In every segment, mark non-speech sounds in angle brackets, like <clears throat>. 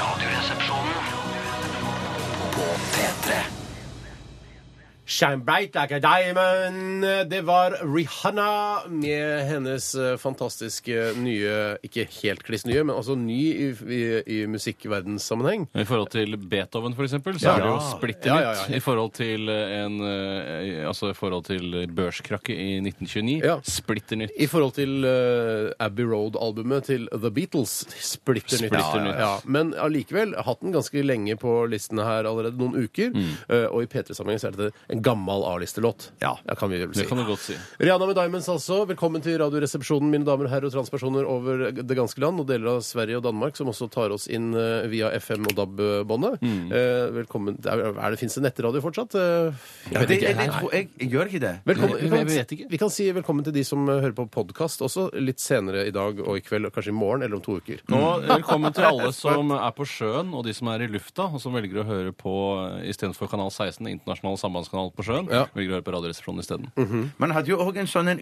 Radioresepsjonen på P3. Shine bright like a diamond. Det var Rihanna med hennes eh, fantastiske nye Ikke helt kliss nye, men altså ny i, i, i musikkverdenssammenheng. I forhold til Beethoven, for eksempel, så Ja. er det jo Ja. splitter Ja, nytt. ja, ja. I forhold til eh, en eh, Altså i forhold til børskrakket i 1929. Ja. Splitter nytt. I forhold til eh, Abbey Road-albumet til The Beatles. Splitter nytt. Splitter nytt. Ja, men allikevel hatt den ganske lenge på listene her allerede, noen uker. Eh, og i P3-sammenheng så er det en gammel A-listelåt. Mm. Ja. kan vi vel si. Det kan du godt si. Rihanna med Diamonds altså. Velkommen til Radioresepsjonen, mine damer og herrer og transpersoner over det ganske land, og deler av Sverige og Danmark, som også tar oss inn eh, via FM- og DAB-båndet. Eh, velkommen det Er er det, Fins det nettradio fortsatt? Eh, Ja, det, jeg, jeg, tror- jeg, jeg gjør ikke det. velkommen, Nei, vi, kan, jeg vet ikke. vi kan si velkommen til de som eh, hører på podkast også, litt senere i dag og i kveld, og kanskje i morgen eller om to uker. Og eh, velkommen til <laughs> alle som er på sjøen, og de som er i lufta, og som velger å høre på eh, istedenfor Kanal 16, internasjonal sambandskanal på sjøen, Ja. Mhm. velger å høre på Radioresepsjonen isteden. Man hadde jo òg en sånn en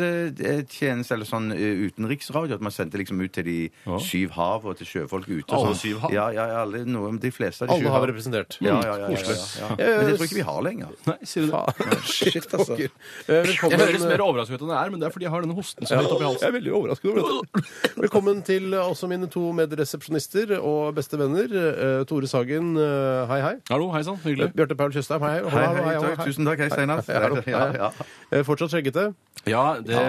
utenrikstjeneste, eller sånn eh, utenriksradio, at man sendte liksom ut til de Ja. syv hav og til sjøfolk ute. og Alle sånn. syv hav? Ja, ja, ja, alle, noe, de fleste av de Alle syv har vi representert. Ja, ja, ja, ja, ja, ja. Men det tror jeg ikke vi har lenger. Nei, sier du det? Shit, altså. Velkommen, Jeg høres mer overrasket ut enn det er, men det er fordi jeg har denne hosten som er litt oppi halsen. Jeg er veldig overrasket over dette. <laughs> Velkommen til eh, også mine to medresepsjonister og beste venner. eh, Tore Sagen, eh, hei hei. Hallo, hei sann, hyggelig. Bjarte Paul Tjøstheim, hei. Hallo, Hei, hallo, hei, hallo, takk. Tusen takk. Hei, Steinar. hallo, Ja, ja. Eh, Fortsatt skjeggete. Ja, det,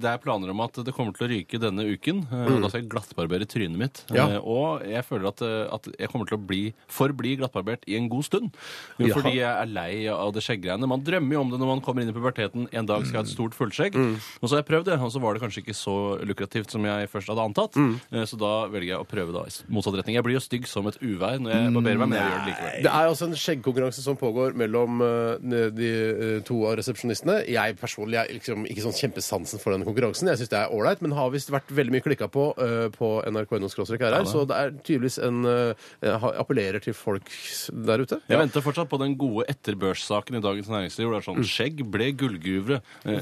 det er planer om at det kommer til å ryke denne uken. eh, og Da skal jeg glattbarbere trynet mitt. Ja. Eh, Og jeg føler at, eh, at jeg kommer til å bli, forbli glattbarbert i en god stund. Jo, Ja. Fordi jeg er lei av det skjegggreiene. Man drømmer jo om det når man kommer inn i puberteten. En dag skal jeg ha et stort fullskjegg. Og så har jeg prøvd det, og så var det kanskje ikke så lukrativt som jeg først hadde antatt. Eh, Så da velger jeg å prøve da i s- motsatt retning. Jeg blir jo stygg som et uvær når jeg barberer meg, men jeg gjør det likevel. Det er altså en skjeggkonkurranse som pågår mellom eh, de eh, to av resepsjonistene. Jeg personlig er liksom ikke sånn kjempesansen for den konkurransen. Jeg syns det er ålreit, men har visst vært veldig mye klikka på eh, på nrk.no her, så det er tydeligvis en eh, ha- appellerer til folk der ute. Jeg venter fortsatt på den gode etterbørssaken i Dagens Næringsliv. hvor det er Mm. sånn, Skjegg ble gullgruve. Eh,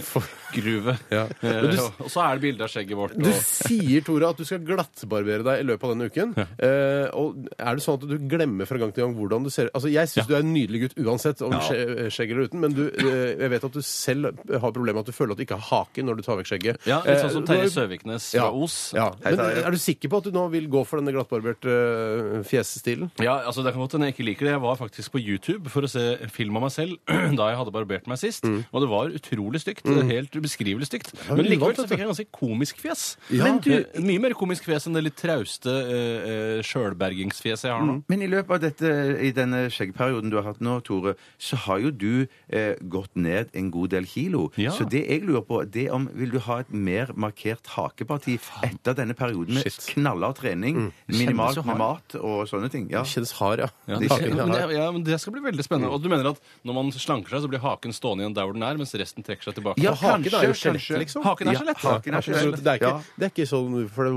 gruve. <laughs> Ja. Eh, Men du- og- og så er det bilde av skjegget vårt. Du Og, sier, Tore, at du skal glattbarbere deg i løpet av denne uken. Eh, og er det sånn at du glemmer fra gang til gang hvordan du ser Altså, Jeg syns du er en nydelig gutt uansett om skje- skjegg eller uten, men du, eh, jeg vet at du selv har problemer med at du føler at du ikke har hake når du tar vekk skjegget. ja, Litt sånn som Eh, Terje du har- Søviknes ja, fra Os. Ja. Hei, Men eh, Terje. er du sikker på at du nå vil gå for denne glattbarberte eh, fjesstilen? Ja, altså Det kan godt hende jeg ikke liker det. Jeg var faktisk på YouTube for å se en film av meg selv <clears throat> da jeg hadde barbert meg sist. Og det var utrolig stygt. Helt ubeskrivelig stygt. Mm. Men det er likevel uvant, så dette. fikk jeg ganske komisk fjes. Ja. Eh, Men du, Mye mer komisk fjes enn det litt trauste uh, sjølbergingsfjeset jeg har nå. Men i løpet av dette, i denne skjeggperioden du har hatt nå, Tore, så har jo du eh, gått ned en god del kilo. Ja. Så det jeg lurer på, det er om vil du ha et mer markert hakeparti etter denne perioden med Shit. Mm. knallhard trening, Kjennes minimalt jo med mat og sånne ting? Ja. Kjennes hard, ja. Ja, det det, er ikke- men det, ja, men det skal bli veldig spennende. Og du mener at når man slanker seg, så blir haken stående igjen der hvor den er, mens resten trekker seg tilbake? Ja, Og haken er jo kanskje, skjelett, kanskje. liksom. Haken er Ja, skjelett. haken Det er er skjelett. ikke, det er Ja. ikke, sånn for det,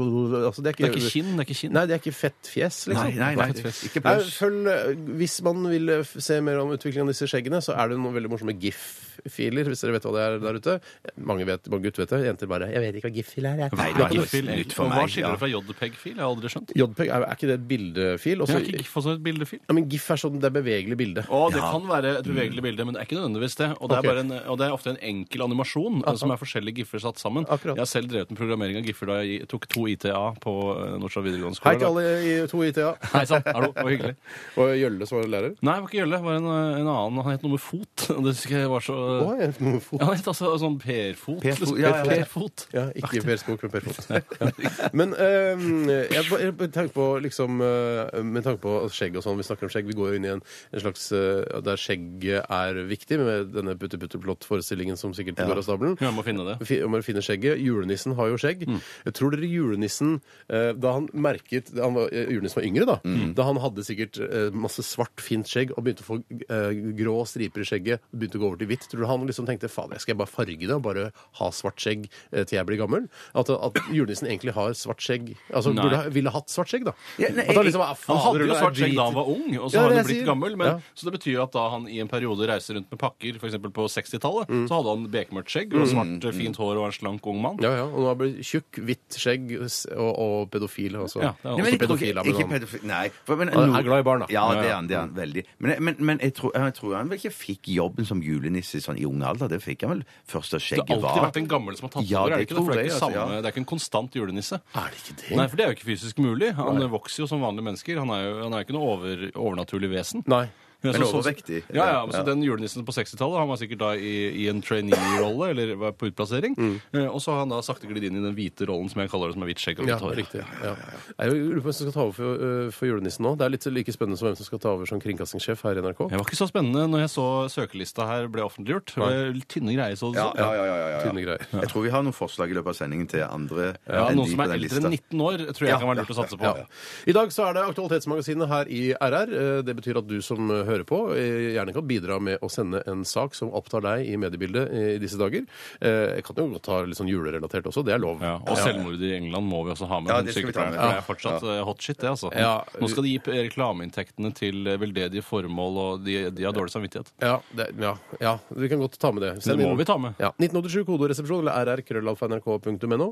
altså, det, er Det ikke, er ikke kinn. det er ikke kinn. Nei, det er ikke fett fjes, liksom. Nei, nei, nei, ikke Nei, pluss. følg, eh, hvis man vil eh, f- se mer om utviklingen av disse skjeggene, så er det noen veldig morsomme GIF-filer, hvis dere vet hva det er der ute. Mange, vet, mange gutter vet det, jenter bare 'Jeg vet ikke hva GIF-fil er', jeg. Nei, Det er det ikke var fil. nytt for Og meg, Hva skiller ja. det fra JPEG-fil? Jeg har aldri skjønt. JPEG, er, er ikke det et bildefil? Jeg Også, har ikke fått sånn et bildefil. ja, men GIF er sånn det er bevegelig bilde. Å, det kan være et bevegelig bilde, men det er ikke nødvendigvis det. Og det er, Ok. bare en, og det er ofte en enkel animasjon eh, som er forskjellige giffer satt sammen. Akkurat. Jeg har selv drevet med programmering av giffer da jeg tok to ITA på eh, Nordstrand videregående skole. Hei til alle i to ITA. Hei sann, hallo, det var hyggelig. Og Gjølle som var lærer. Nei, det var ikke Gjølle, det var en, eh, en annen. Han het noe med fot. <laughs> og Det husker jeg var så eh, Å, jeg har noe fot. Ja, han het altså sånn Perfot. Perfot, liksom. ja, ja, ja. Perfot. Ja, ikke Per Skog, men Per Fot. Men ehm, jeg, ba- jeg, med tanke på liksom eh, Med tanke på skjegg og sånn, vi snakker om skjegg, vi går jo inn i en, en slags eh, Der skjegget er viktig, med denne putte-putte-plott-forestillingen som sikkert går av stabelen. Ja, jeg må finne det. Fi- Om å finne skjegget. Julenissen har jo skjegg. Jeg tror dere julenissen eh, Da han merket da han var, eh, Julenissen var yngre, da. Da han hadde sikkert eh, masse svart, fint skjegg og begynte å få eh, grå striper i skjegget, begynte å gå over til hvitt. Tror tror du han liksom tenkte fader, skal jeg bare farge det og bare ha svart skjegg eh, til jeg blir gammel? At, at julenissen egentlig har svart skjegg Altså Nei. burde, ha- ville hatt svart skjegg, da. Ja, nei, at han liksom er Han hadde fader, jo det er svart skjegg drit- da han var ung, Ja, og så har det han jeg blitt sier. gammel. Men, Ja. Så det betyr jo at da han i en periode reiser rundt med pakker, f.eks. på 60-tallet, så hadde han bekmørkt skjegg og svart, eh, fint hår og var en slank ung mann. Ja, ja. Og nå har han blitt tjukk, hvitt skjegg s- og, og pedofil. Altså. Ja, det er han. Ikke Nei, men jeg tror pedofil, da, men ikke han- pedofil, nei. For, men, Han er noen- glad i barn, da. Ja, det er Ja, han, det er han veldig. Men, men, men jeg, tror, jeg tror han vel ikke fikk jobben som julenisse sånn i ung alder. Det fikk han vel først da Det har skjegget alltid var. vært en gammel som har tatt Ja, over. Er det det, ikke det? For det, er tror jeg, ikke altså, samme, ja. det er ikke en konstant julenisse. Er det ikke det? Nei, for det er jo ikke fysisk mulig. Han vokser jo som vanlige mennesker. Han er jo, han er jo ikke noe over, overnaturlig vesen. Nei. Ja, Men så- altså, så- overvektig. Ja, ja, men så Ja. Den julenissen på 60-tallet Han var sikkert da i, i en trainee-rolle, eller var på utplassering. Mm. Eh, og så har han da sakte glidd inn i den hvite rollen som jeg kaller det, som er hvitt skjegg og Ja, hvitt hår. riktig. Ja. Jeg lurer på hvem som skal ta over for, øh, for julenissen nå. Det er litt like spennende som hvem som skal ta over som kringkastingssjef her i NRK. Det var ikke så spennende når jeg så søkelista her ble offentliggjort. Det var Litt tynne greier, så det Ja, så. ja, ja, ja, ja, ja. Tynne greier. Jeg tror vi har noen forslag i løpet av sendingen til andre Ja, enn Noen som de på er den eldre enn lista. 19 år, tror jeg kan være lurt å satse på. Ja. I dag så er det Aktualitetsmagasinet her i RR. Eh, Det betyr at du som eh, hører på, eh, gjerne kan bidra med å sende en sak som opptar deg i mediebildet eh, i disse dager. Eh, Jeg kan jo godt ta litt sånn julerelatert også. Det er lov. Ja, og selvmord i England må vi også ha med. Ja, men det skal vi ta med. sykepleierne, for Det er fortsatt eh, hot shit, det, altså. Ja. Nå skal de gi p- reklameinntektene til eh, veldedige formål, og de, de har dårlig samvittighet. Ja, det, ja, ja, vi kan godt ta med det. Send Det må inn- vi ta med. Ja, 1987 kodoresepsjon eller rr.krøllalfa.nrk.no.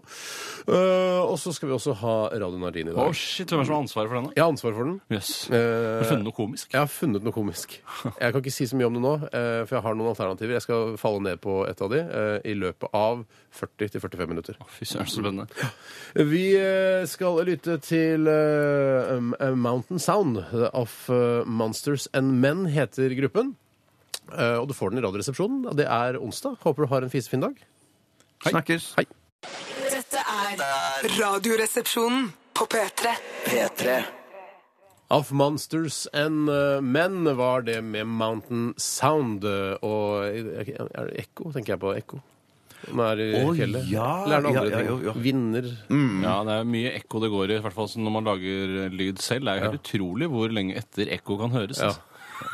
Eh, og så skal vi også ha Radio Nardin i Å, dag. Oh, shit, hvem er det som har ansvaret for denne? Jeg har ansvar for den. Jøss. Yes. Har du Eh, funnet noe komisk? jeg har funnet noe <laughs> komisk. Jeg kan ikke si så mye om det nå, eh, for jeg har noen alternativer. Jeg skal falle ned på et av de eh, i løpet av 40-45 minutter. Fy søren, så spennende. Vi eh, skal lytte til eh, um, uh, Mountain Sound of eh, Monsters and Men, heter gruppen. Eh, og du får den i Radioresepsjonen. Det er onsdag. Håper du har en fisefin dag. Snakkes. Hei. Dette er Radioresepsjonen på P3. P3. Of Monsters and eh, Men var det med Mountain Sound. eh, og er det Ekko? Tenker jeg på Ekko. Nå er det i Å, fjellet. ja, Eller er det ja, andre ja, ting? jo, ja. Vinner. Ja, det er mye ekko det går i, i hvert fall så når man lager eh, lyd selv. Det er jo helt utrolig hvor lenge etter ekko kan høres. Ja. altså.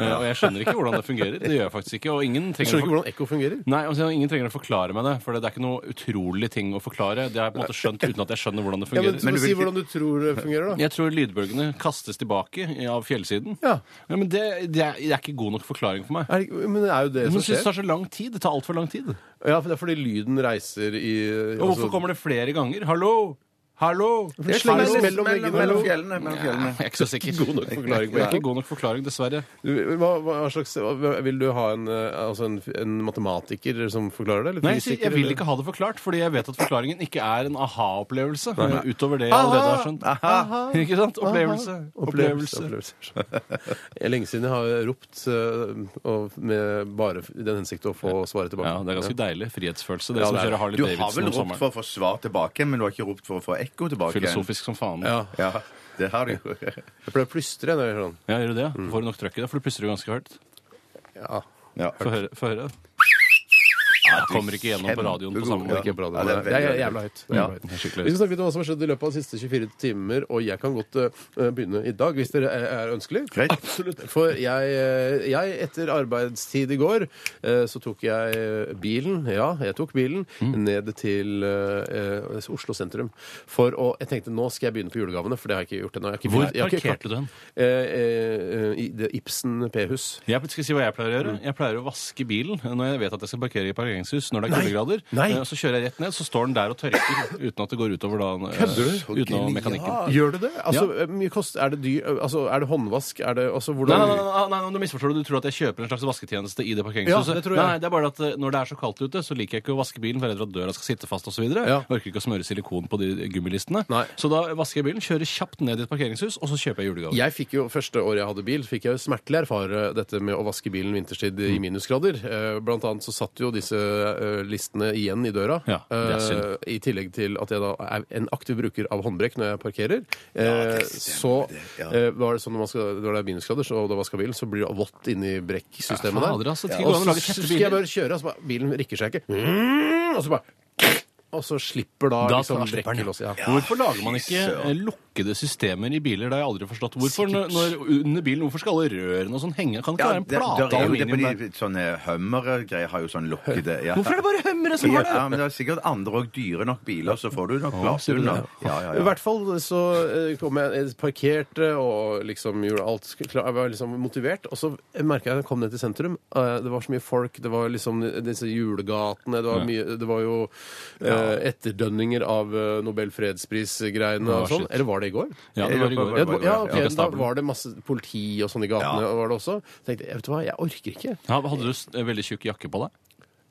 Eh, Og jeg skjønner ikke hvordan det fungerer. Det gjør jeg faktisk ikke. Og ingen Jeg trenger skjønner ikke hvordan Ekko fungerer. Nei, altså, Ingen trenger å forklare meg det, for det er ikke noe utrolig ting å forklare. Det har jeg på en måte skjønt uten at jeg skjønner hvordan det Ja, fungerer. men, Men du Si vil ikke- hvordan du tror det fungerer, da. Jeg tror lydbølgene kastes tilbake av fjellsiden. Ja. men det, det, er, det er ikke god nok forklaring for meg. Er, det ikke- men det er jo det Men som jeg synes det skjer. tar så lang tid. Det tar altfor lang tid. Og Ja, for det er fordi lyden reiser i altså, hvorfor kommer det flere ganger? Hallo! Hallo! det sleng Hallo, mellom veggene. mellom fjellene. Mellom fjellene. Jeg er <laughs> ikke så sikker. God nok forklaring på Det er Ekko. ikke god nok forklaring, dessverre. Hva, hva slags hva- Vil du ha en, eh, altså en, en matematiker som forklarer det? Eller Nei, jeg, sier, jeg vil eller? ikke ha det forklart, fordi jeg vet at forklaringen ikke er en aha-opplevelse. eh, Utover det jeg allerede har skjønt. Ikke sant? Opplevelse. Opplevelse. Opplevelse. opplevelse. <laughs> Det er lenge siden jeg har ropt eh, og med bare f- i den hensikt å få svaret tilbake. Ja, det er ganske deilig. Frihetsfølelse. Det Ja, som det er kjører det. Harley Du har vel Davidson om ropt sommeren. for å få svar tilbake, men du har ikke ropt for å få ekko tilbake. igjen. Filosofisk som faen. Ja. Ja, det har du jo. Jeg pleier å plystre når jeg gjør sånn. Ja, gjør du det? ja? Får du nok trøkk i det? For du plystrer jo ganske høyt. Ja. Ja. Få høre. Få høre. Jeg kommer ikke gjennom på radioen på samme Det er måte. ikke bra, det. Ja, det er det er veldig, jævla høyt. Det er Ja, jævla høyt. det er Vi skikkelig skal snakke litt om hva som har skjedd i løpet av de siste 24 timer, og jeg kan godt eh, begynne i dag, hvis dere er- er ønskelig. Greit. Absolutt. For jeg, eh, jeg, etter arbeidstid i går, eh, så tok jeg eh, bilen, ja, jeg tok bilen, ned til eh, eh, Oslo sentrum. For å, jeg tenkte, nå skal jeg begynne på julegavene, for det har jeg ikke gjort ennå. Jeg har ikke Hvor begynt- jeg har ikke klart- parkerte du den? Eh, eh, I det Ibsen P-hus. Jeg skal si hva jeg pleier å gjøre. Mm. Jeg pleier å vaske bilen når jeg vet at jeg skal parkere i parkeringshus når det er Nei. kuldegrader. Nei. Eh, Så kjører jeg rett ned, så står den der og tørker <laughs> uten at det går utover da eh, Kødder Utenom mekanikken. Gjør du det? Altså, mye kost, er det dyr, altså, er det håndvask? Er det, altså, Nei, hvordan... nei, nei, nei, nei, nei, du misforstår det. Du tror at jeg kjøper en slags vasketjeneste i det parkeringshuset. Ja, det tror jeg. Nei, nei, det er bare at eh, når det er så kaldt ute, så liker jeg ikke å vaske bilen, for jeg er redd for at døra skal sitte fast osv. Ja. Jeg Orker ikke å smøre silikon på de gummilistene. Nei. Så da vasker jeg bilen, kjører kjapt ned i et parkeringshus, og så kjøper jeg julegave. Jeg fikk jo, Første året jeg hadde bil, fikk jeg jo smertelig erfare dette med å vaske bilen vinterstid Mm. i minusgrader. Eh, Blant annet så satt jo disse eh, listene igjen i døra. Ja, det er synd. Eh, I tillegg til at jeg da er en aktiv bruker av håndbrekk når jeg parkerer. Eh, så stemmer det, ja. eh, var det sånn når, man skal, når det er minusgrader så, og du vasker bilen, så blir det vått inni brekksystemet Ja, fader, der. altså, det skal Og gå an å lage så tette skal jeg biler. bare kjøre, og så bare Bilen rikker seg ikke. Mm, og så bare og så slipper da, Da liksom, slipper den, ja. brekkelås. Ja. Hvorfor lager man ikke eh, lukkede systemer i biler? Det har jeg aldri forstått. Hvorfor, når, når, under bilen, hvorfor skal alle rørene og sånn henge? Kan ikke Ja, være en det, plate der er jo det på aluminium der? de sånne Hummer-greier har jo sånn lukkede ja. Hvorfor er det bare hømmere som ja, har det? men det er sikkert andre og dyre nok biler, så får du nok plass sier du unna. det? Ja, ja, I ja. hvert fall så eh, kom jeg eh, parkerte og liksom gjorde alt sk- klar. Jeg var liksom motivert. Og så merka jeg at jeg kom ned til sentrum. Eh, Det var så mye folk. Det var liksom disse julegatene. Det var, mye, det var jo eh, etterdønninger av eh, Nobel fredspris-greiene Ja, og sånn. shit. Eller var det i går? Ja, det var i går. Ja, det var- ja, Ja, ok, da var det masse politi og sånn i gatene. Ja. Og var det også. Så tenkte jeg vet du hva, jeg orker ikke. Ja, hadde du s- eh, veldig tjukk jakke på deg?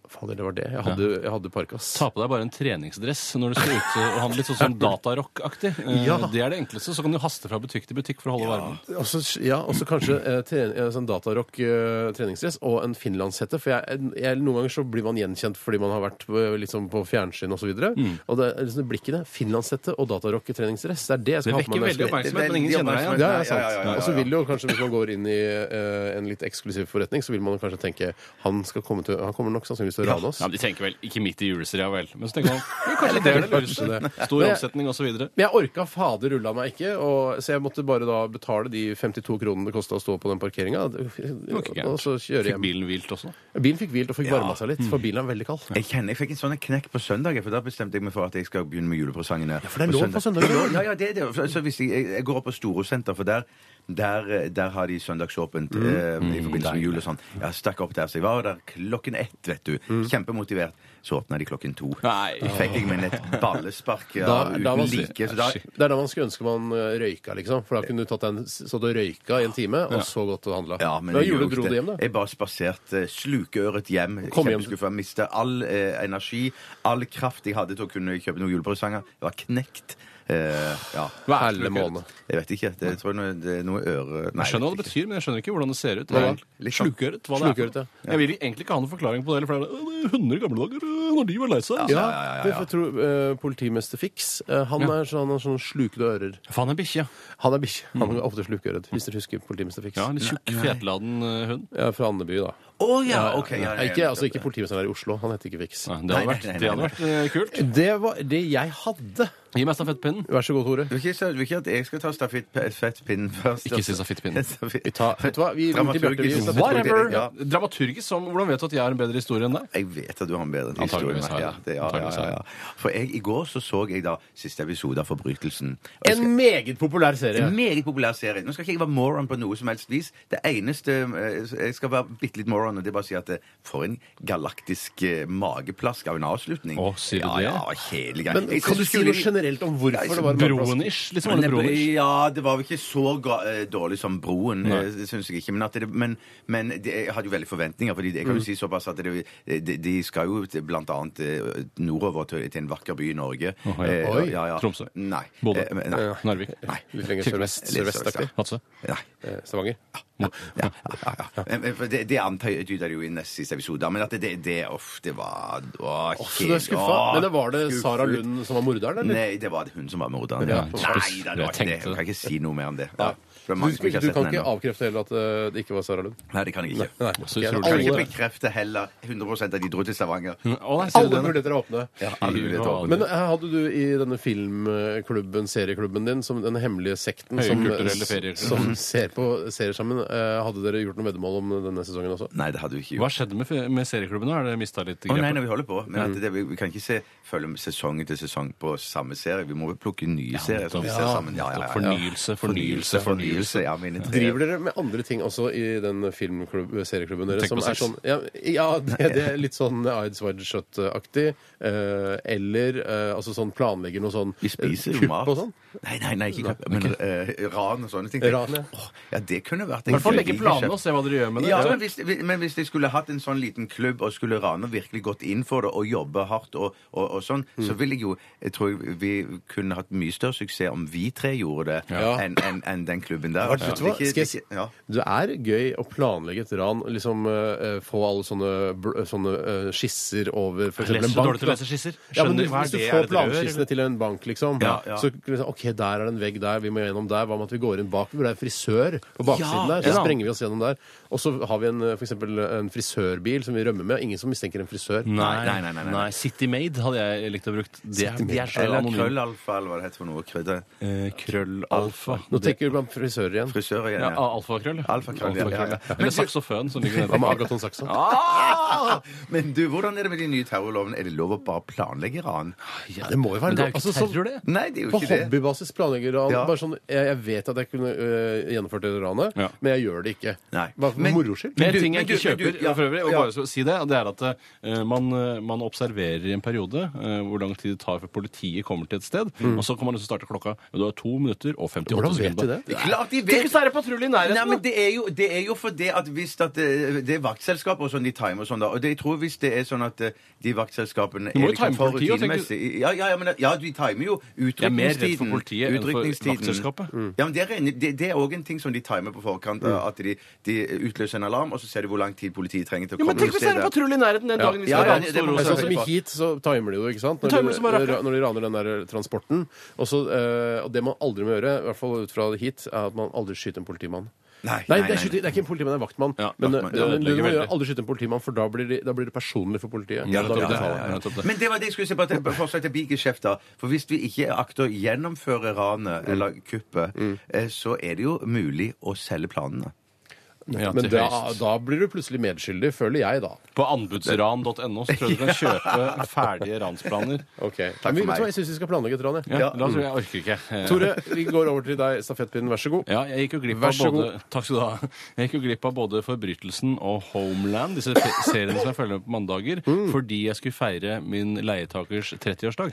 Fader, det var det. Jeg hadde, jeg hadde parkas. Ta på deg bare en treningsdress når du skal ut eh, og handle litt sånn som datarock-aktig. Eh, Ja. Det er det enkleste. Så kan du haste fra butikk til butikk for å holde varmen. Og så- ja, og så kanskje eh, tre, eh, sånn datarock eh, treningsdress og en finlandshette. For jeg, jeg, noen ganger så blir man gjenkjent fordi man har vært på, eh, liksom på fjernsyn osv. Og, så videre. og det er liksom blikkene. Finlandshette og datarock treningsdress. Det er det jeg Det skal ha på meg. vekker når jeg veldig skal- oppmerksomhet, men ingen Veldig kjenner deg igjen. oppmerksomhet. Ja, det er Ja, ja, ja, ja, ja. sant. Og så vil jo kanskje hvis man går inn i eh, en litt eksklusiv forretning, så vil man kanskje tenke han, skal komme til, han kommer nok sannsynligvis til å rane oss. Ja, men De tenker vel ikke midt i julestria, vel. Men så tenker man jo, kanskje det er det Kanskje lureste. det. Stor omsetning osv. Men jeg orka fader rulla meg ikke, og, så jeg måtte bare da betale de 52 kronene det kosta å stå på den parkeringa. Og så kjøre Fikk hjem. bilen hvilt også. Bilen fikk hvilt og fikk varma seg litt, for Mm. bilen er veldig kald. Jeg kjenner, jeg fikk en sånn knekk på søndag, for da bestemte jeg meg for at jeg skal begynne med julepresangene. Ja, for det er lov på søndager. Ja, ja, det er det. Så hvis jeg, jeg- jeg går opp på Storosenter, for der, der, der har de søndagsåpent Mm. eh, i forbindelse med jul og sånn. Jeg stakk opp der, så jeg var der klokken ett, vet du. Mm. Kjempemotivert. Så åpna de klokken to. Nei. Da fikk jeg meg et ballespark ja, Da- da var- uten like. Så da, Det er da man skulle ønske man eh, røyka, liksom. For da kunne du tatt deg en, stått og røyka i en time, og så gått og handla. Ja, men da jeg jule gjorde dro du ikke det. hjem, da. Jeg bare spaserte eh, slukøret hjem. Kom hjem. Kjempeskuffa. Mista all eh, energi, all kraft jeg hadde til å kunne kjøpe noen julepresanger. Jeg var knekt. Eh, ja. Hele måned. Jeg vet ikke. Det jeg tror jeg noe- det er noe øre Nei, Jeg skjønner hva det vet ikke. betyr, men jeg skjønner ikke hvordan det ser ut. Hva da? Det er sånn Slukøret. Hva det er. Slukøret, ja. for noe. Jeg vil egentlig ikke ha noen forklaring på det. Eller, for det er hunder i gamle dager, øh, når de var lei seg. Ja, det får jeg tro eh, politimester Fix. eh, han, er sånn, han har sånn slukede ører. Faen, en bikkje. Han er bikkje. Han Mm. er ofte slukøret, hvis dere husker politimester Fix. Ja, en tjukk, fetladen øh, hund. Ja, fra Andeby, da. Å ja, OK. Ja, Nei, ikke, altså, ikke politimesteren her i Oslo. Han heter ikke Fix. Nei, det hadde Nei, vært, nei, nei, det hadde nei. vært øh, kult. Det var det jeg hadde. Gi meg stafettpinnen. Vær så god, Tore. Du vil ikke, du vil ikke at jeg skal ta stafettpinnen først? Ikke si stafettpinnen. <laughs> Stafett- Vi tar, vet du hva? Vi roter til Bjarte. Dramaturgisk. Vi- Whatever! Ja. Dramaturgisk som Hvordan vet du at jeg har en bedre historie enn deg? Jeg vet at du har en bedre Antageligvis historie. har jeg Ja, det. det- ja, ja, Antageligvis har jeg ja, ja. For jeg, i går så, så jeg da siste episode av Forbrytelsen. Og jeg En meget populær serie. En meget populær serie. Nå skal ikke jeg være moron på noe som helst vis. Det eneste eh, Jeg skal være bitte litt moron, og det er bare å si at eh, for en galaktisk eh, mageplask av en avslutning. Å, sier du ja, det? Ja, kjedelig greie. Men Jeg kan synes du det si skulle- noe generelt om hvorfor det var Broen-ish? Litt som altså. Men alle det- broen-ish. Ja, det var vel ikke så ga- eh, dårlig som Broen, eh, det syns jeg ikke. Men, at det, men, men det, jeg hadde jo veldig forventninger, Fordi jeg kan jo Mm. si såpass at det, de, de skal jo til- blant annet eh, nordover til, til en vakker by i Norge. Åh, ja. Eh, Oi. Tromsø. Nei. Bodø. Eh, men- nei. Narvik. Nei. Litt lenger sørvest. Litt Sørvestaktig. sørvest, Hatse. Nei. Eh, Stavanger. Ja, ja, ja. <laughs> Men- men for Det, det antyder jo i neste siste episode, men at det, det, det, uff, det var åh, Å, så du er skuffa. åh, Men det var det skuffet. Sara Lund som var morderen, eller? Nei, det var det hun som var morderen. Ja, Nei, for- da, det var Jeg ikke det. tenkte Jeg kan det. ikke si noe mer om det. Nei. Ja, for det er Du, mange som ikke skulle- har du sett kan den ikke ennå. avkrefte heller at eh, det ikke var Sara Lund? Nei, det kan jeg ikke. Nei. Så ok. utrolig. Jeg kan Alle, ikke bekrefte heller 100 at de dro til Stavanger. Å, nei, sier du alle det? muligheter er åpne. Alle muligheter var åpne. Men eh, hadde du i denne filmklubben, serieklubben din, som den hemmelige sekten som, Høykulturelle ferier. som ser på serier sammen, eh, hadde dere gjort noe veddemål om denne sesongen også? Nei, det hadde vi ikke Hva gjort. skjedde med, f- med serieklubben? nå? Har dere mista litt Å nei, grepet? nei, vi holder på. Men Mm. at det, vi, vi kan ikke se, følge med sesong etter sesong på samme serie. Vi må vel plukke nye serier som vi ser sammen. Ja, ja, ja, ja. Fornyelse, fornyelse, fornyelse. Fornyelse, ja, mine tre. Driver dere med andre ting også i den filmklubb, serieklubben deres? Tenk Som på er sex. sånn, ja, ja det, det er litt sånn Ides Wide Shut-aktig. eh, eller eh, altså sånn planlegger noe sånn Vi spiser eh, jo kupp mat. og sånn. Nei, nei, nei, ikke kapp, men eh, ran og sånne ting. Ran, ja. Åh, ja, det kunne vært I hvert fall legge planene og se hva dere gjør med det. Ja, men hvis, men hvis de skulle hatt en sånn liten klubb og skulle rane virkelig gått inn for det og jobbe hardt og, og, og sånn, Mm. så ville jeg jo Jeg tror vi kunne hatt mye større suksess om vi tre gjorde det Ja. enn enn- enn den klubben der. Vet du hva? Det er Skal ikke- jeg si- det er ikke- ja. Det er gøy å planlegge et ran. Liksom eh, Få alle sånne, bl- sånne eh, skisser over for Leser eksempel en du bank. dårlig til å da. lese skisser? Ja, men Skjønner hvis, hva er hvis du det? Er får det et rør, planskissene eller? til en bank, liksom, Ja, ja. så liksom, OK, der er det en vegg der, vi må gjennom der. Hva med at vi går inn bak hvor det er frisør på baksiden der? Ja, Så Ja. sprenger vi oss gjennom der. Og så har vi en, eh, for eksempel en frisørbil som vi rømmer med. Ingen som mistenker en frisør. Nei, Nei, nei, nei, nei. City Maid hadde jeg likt å brukt. De, City de er så Eller anonyme. krøllalfa, eller hva det heter for noe. Krydder. Eh, Krøllalfa. Nå tenker du på frisører igjen. Frisører igjen. Ja, Ja. ah! alfakrøll. ja. Alfakrøll, ja, ja, ja. Eller saksofon, som ligger Hva med nede. Agaton Saxa? Ah! Men du, hvordan er det med de nye terrorlovene? Er det lov å bare planlegge ran? Ja, det må jo være Men det er jo Altså, ikke sånn- terror, det. Nei, det er jo På ikke det. hobbybasis planlegger han Ja. bare sånn jeg, jeg vet at jeg kunne øh, gjennomført det ranet, Ja. men jeg gjør det ikke. Nei. Bare for Men- moro skyld. Men du- en ting jeg men ikke du- men du- kjøper, ja, for øvrig, og ja. bare så si det, det er at eh, man, eh, man observerer i en periode eh, hvor lang tid det tar før politiet kommer til et sted, og så kan man liksom starte klokka. Men du har to minutter og 58 Hvordan vet de det? Klart de Tenk vet hvis det er en patrulje i nærheten! da! Nei, men det er jo, det er jo fordi at hvis at eh, det er vaktselskaper og sånn, de timer og sånn, da. Og det, jeg tror hvis det er sånn at eh, de vaktselskapene må jo liksom time for politiet, tenker du. rutinemessig- Ja, ja, ja, men, ja, de timer jo Jeg er utrykningstiden. mer redd for politiet enn for Utrykningstiden. vaktselskapet. Ja, men det er, en- det, det er også en ting som de timer på forkant. da, At de, de utløser en alarm, og så ser de hvor lang tid politiet trenger Ja, til å komme men tenk til hvis det er en stedet. patrulje i nærheten den dagen vi Ja, skal ja, rane det- det Store må man Men Åse. sånn som i Heat, så timer de jo, ikke sant? Når, timer de som bare de, rakker. når de raner den der øh, transporten. Og så, øh, og det man aldri må gjøre, i hvert fall ut fra Heat, er at man aldri skyter en politimann. Nei, Nei, det, er skyte, det er ikke en politimann, det er vaktmann. Ja, men vaktmann. øh, Ja, det men du ødelegger må gjøre veldig. aldri skyte en politimann, for da blir, det, da blir det personlig for politiet. Ja, Da nettopp blir det, det ja, farlig. ja, ja, nettopp det. Men det var det jeg skulle si på, at- på forslag til bigeskjeft. da. For hvis vi ikke akter å gjennomføre ranet eller kuppet, eh, så er det jo mulig å selge planene. Ja, Men til da, høyest. da blir du plutselig medskyldig, føler jeg, da. På anbudsran.no så tror jeg du kan kjøpe ferdige ransplaner. Ok, for Men vi- meg. vet du hva, Jeg syns vi skal planlegge et ran, jeg. Ja, Ja. La oss, jeg orker ikke. Eh, Tore, vi går over til deg, stafettpinnen, vær så god. Ja, jeg gikk jo glipp Vær av så både Takk skal du ha. <laughs> Jeg gikk jo glipp av både Forbrytelsen og Homeland, disse fe- seriene som jeg følger med på mandager, fordi jeg skulle feire min leietakers 30-årsdag.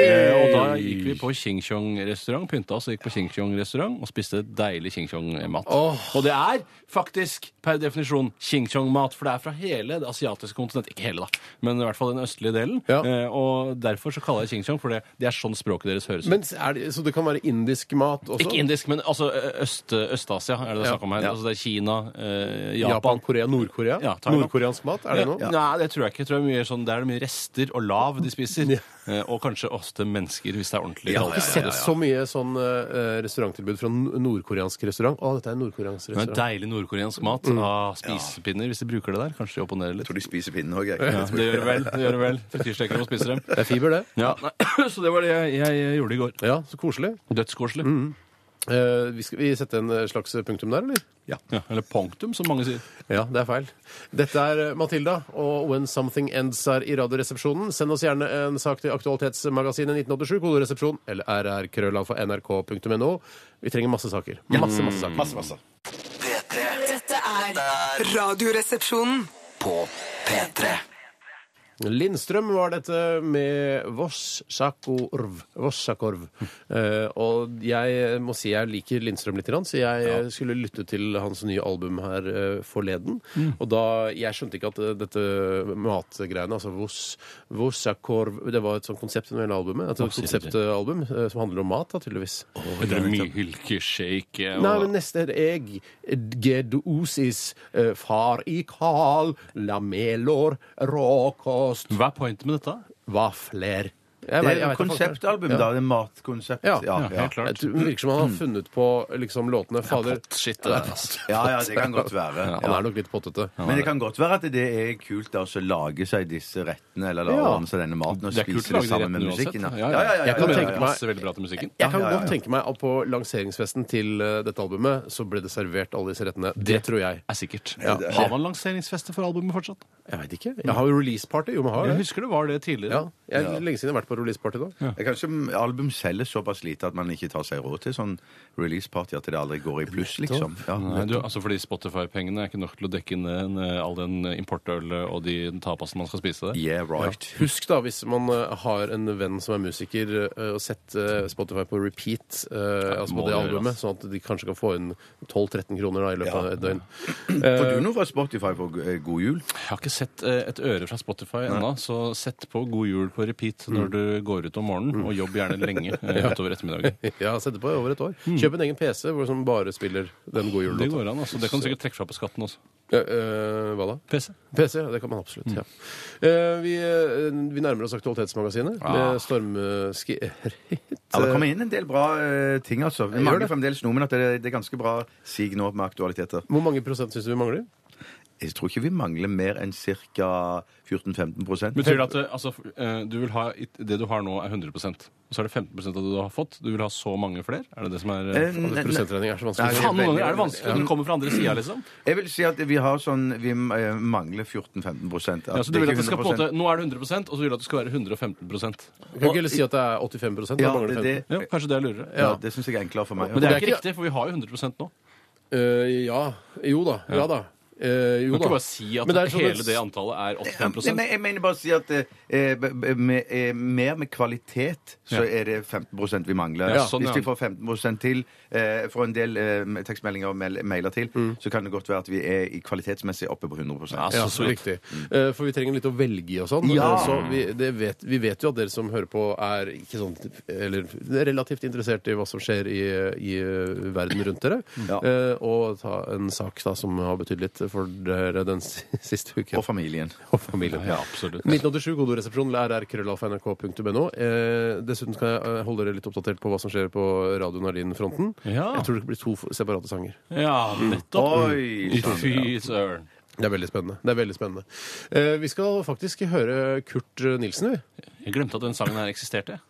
Eh, Og da gikk vi på Ching Chong-restaurant, pynta oss og gikk på Ching Chong-restaurant og spiste deilig Ching Chong-mat. Og det er faktisk per definisjon Ching Chong-mat, for det er fra hele det asiatiske kontinent. Ikke hele, da, men i hvert fall den østlige delen. Ja. Eh, Og derfor så kaller jeg Ching Chong, for det, det er sånn språket deres høres ut. Men er det, så det kan være indisk mat også? Ikke indisk, men altså ø- øst, Øst-Asia er det det er Ja, snakk om her. ja. Altså det er Kina, eh, Japan, Japan. Korea, Nord-Korea? Ja, Thailand. Nordkoreansk mat, er det noe? Ja. Nei, det tror jeg ikke. Jeg tror det er mye sånn, Der er det mye rester og lav de spiser. Eh, Og kanskje åste mennesker, hvis det er ordentlig. Ja, ja, Jeg har sett så mye sånn eh, restauranttilbud fra n- nordkoreansk restaurant. Å, dette er en nordkoreansk Men restaurant. deilig nordkoreansk mat. Ah, spisepinner, hvis de bruker det der. Kanskje de opponerer litt. Tror de spiser pinnen òg, jeg. Ja, det gjør det vel. det gjør det vel. Frityrstekere og spiser dem. Det er fiber, det. Ja, <clears throat> nei, Så det var det jeg, jeg gjorde i går. Ja, så koselig. Dødskoselig. Eh, vi skal vi sette en eh, slags punktum der, eller? Ja, eller punktum, som mange sier. Ja, det er feil. Dette er eh, Matilda og When Something Ends her i Radioresepsjonen. Send oss gjerne en sak til Aktualitetsmagasinet 1987, koderesepsjon, eller rrkrøllalfa.nrk.no. Vi trenger masse saker. Masse, masse saker. Masse, masse. P3 Dette er Radioresepsjonen. på P3 Lindstrøm var dette med Vossakorv. Vossakorv. Eh, og jeg må si jeg liker Lindstrøm litt, så jeg skulle lytte til hans nye album her eh, forleden. Og da Jeg skjønte ikke at eh, dette matgreiene, altså voss- Vossakorv Det var et sånt konsept under hele albumet. Et konseptalbum eh, som handler om mat, da, tydeligvis. Heter det mylkeshake Nei, men neste er jeg. Gedosis, eh, far i kal, lamelor, råkost Hva er pointet med dette? vafler. Jeg vet- jeg Det er vet et at folk har- konseptalbum, da. Det er matkonsept. Ja. ja, Ja, helt klart. Jeg tror- Det virker som han har funnet på liksom, låtene. Fader, Shit, det er altså. fast. ja, ja, det kan <laughs> godt være. han er nok litt pottete. Men det kan godt være at det er kult da, å lage seg disse rettene eller la Ja. ordne seg denne maten og Det er kult å spise det lage de sammen med rettene uansett. musikken. da. Ja, ja, ja. Jeg kan Det tenke meg- passer veldig bra til musikken. Jeg kan Ja, ja, ja. godt tenke meg at på lanseringsfesten til eh, dette albumet så ble det servert alle disse rettene. Det tror jeg. er sikkert. Har man lanseringsfeste for albumet fortsatt? Jeg veit ikke. Jeg har jo releaseparty. Jo, man har Jeg det. husker det var det Ja. tidligere. Jeg er lenge siden jeg har vært på releaseparty nå. Det er Kanskje album selger såpass lite at man ikke tar seg råd til sånn release-party at det aldri går i pluss, liksom. Ja. Nei, du, altså fordi Spotify-pengene er ikke nok til å dekke inn eh, all den importølet og de tapasen man skal spise der. Yeah, right. Husk da, hvis man eh, har en venn som er musiker, eh, og sett eh, Spotify på repeat, eh, altså må på det det gjøres. albumet, sånn at de kanskje kan få inn 12-13 kroner da, i løpet av et døgn. Får du noe fra Spotify på eh, God jul? Jeg har ikke sett eh, et øre fra Spotify ennå, så sett på God jul på repeat når du før du går ut om morgenen, og jobb gjerne lenge eh, utover ettermiddagen. <laughs> Jeg har sett det på i over et år. Kjøp en egen PC hvor som bare spiller den gode Mm. Det julelåta. går an, altså. Det kan du sikkert trekke fra på skatten også. Ja, eh, hva da? PC. PC, ja, det kan man Mm. absolutt. ja. Eh, vi, eh, vi nærmer oss Aktualitetsmagasinet Ah. med stormskritt. Ja, det kommer inn en del bra eh, ting, altså. Vi det. mangler fremdeles noe, men at det, det er ganske bra sig nå med aktualiteter. <laughs> Hvor mange prosent syns du vi Mm, mangler? Jeg tror ikke vi mangler mer enn ca. 14-15 prosent. Betyr det at eh, altså, eh, du vil ha, det du har nå, er 100 og så er det 15 av det du har fått? Du vil ha så mange flere? Er det det som er eh, Eh, nei, nei. Altså, Prosentregning er så Nei, vanskelig. det- Faen, noen ganger er det vanskelig når den kommer fra andre sida, liksom. Jeg vil si at vi har sånn Vi eh, mangler 14-15 prosent. Ja, så du vil ikke at det skal på en 100%. måte, Nå er det 100 og så vil du at det skal være 115 Kan ikke heller si at det er 85 da Ja, mangler det, det det, 15. Ja, Kanskje det er lurere. ja, det syns jeg er enklere for meg. Men det det er er ikke riktig, for vi har jo 100 nå. Eh, ja. Jo da. Ja da. Eh, jo Du kan ikke da. bare si at Men det er sånn- hele det antallet er 85 Nei, men jeg mener bare å si at eh, b- b- med, eh, mer med kvalitet så er det 15 vi mangler. Ja, sånn, Hvis ja. vi får 15 til, eh, får en del eh, tekstmeldinger og mail- mailer til, Mm. så kan det godt være at vi er i kvalitetsmessig oppe på 100 Ja, Ja, så sweet. riktig. Eh, For vi trenger litt å velge i og sånn. Ja. Eh, Så vi, det vet, vi vet jo at dere som hører på, er ikke sånn Eller relativt interessert i hva som skjer i, i eh, verden rundt <laughs> dere. Ja. Eh, Og ta en sak da som har betydd litt for dere den s- <laughs> siste uken. Og familien. Og familien. Ja, absolutt. 1987, kodoresepsjon, rr.krøllalfa.nrk.no. Eh, dessuten skal jeg eh, holde dere litt oppdatert på hva som skjer på Radio Nardin-fronten. Ja. Jeg tror det blir to f- separate sanger. Ja, nettopp. Oi! sant. Fy søren. Det er veldig spennende. Det er veldig spennende. Eh, vi skal faktisk høre Kurt Nilsen, vi. Jeg glemte at den sangen her eksisterte.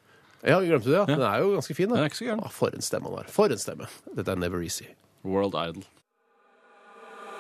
Ja, vi glemte det, ja. Den er jo ganske fin, da. Den er ikke så gæren. Ah, for en stemme han har. For en stemme. Dette er Never Easy. World Idol.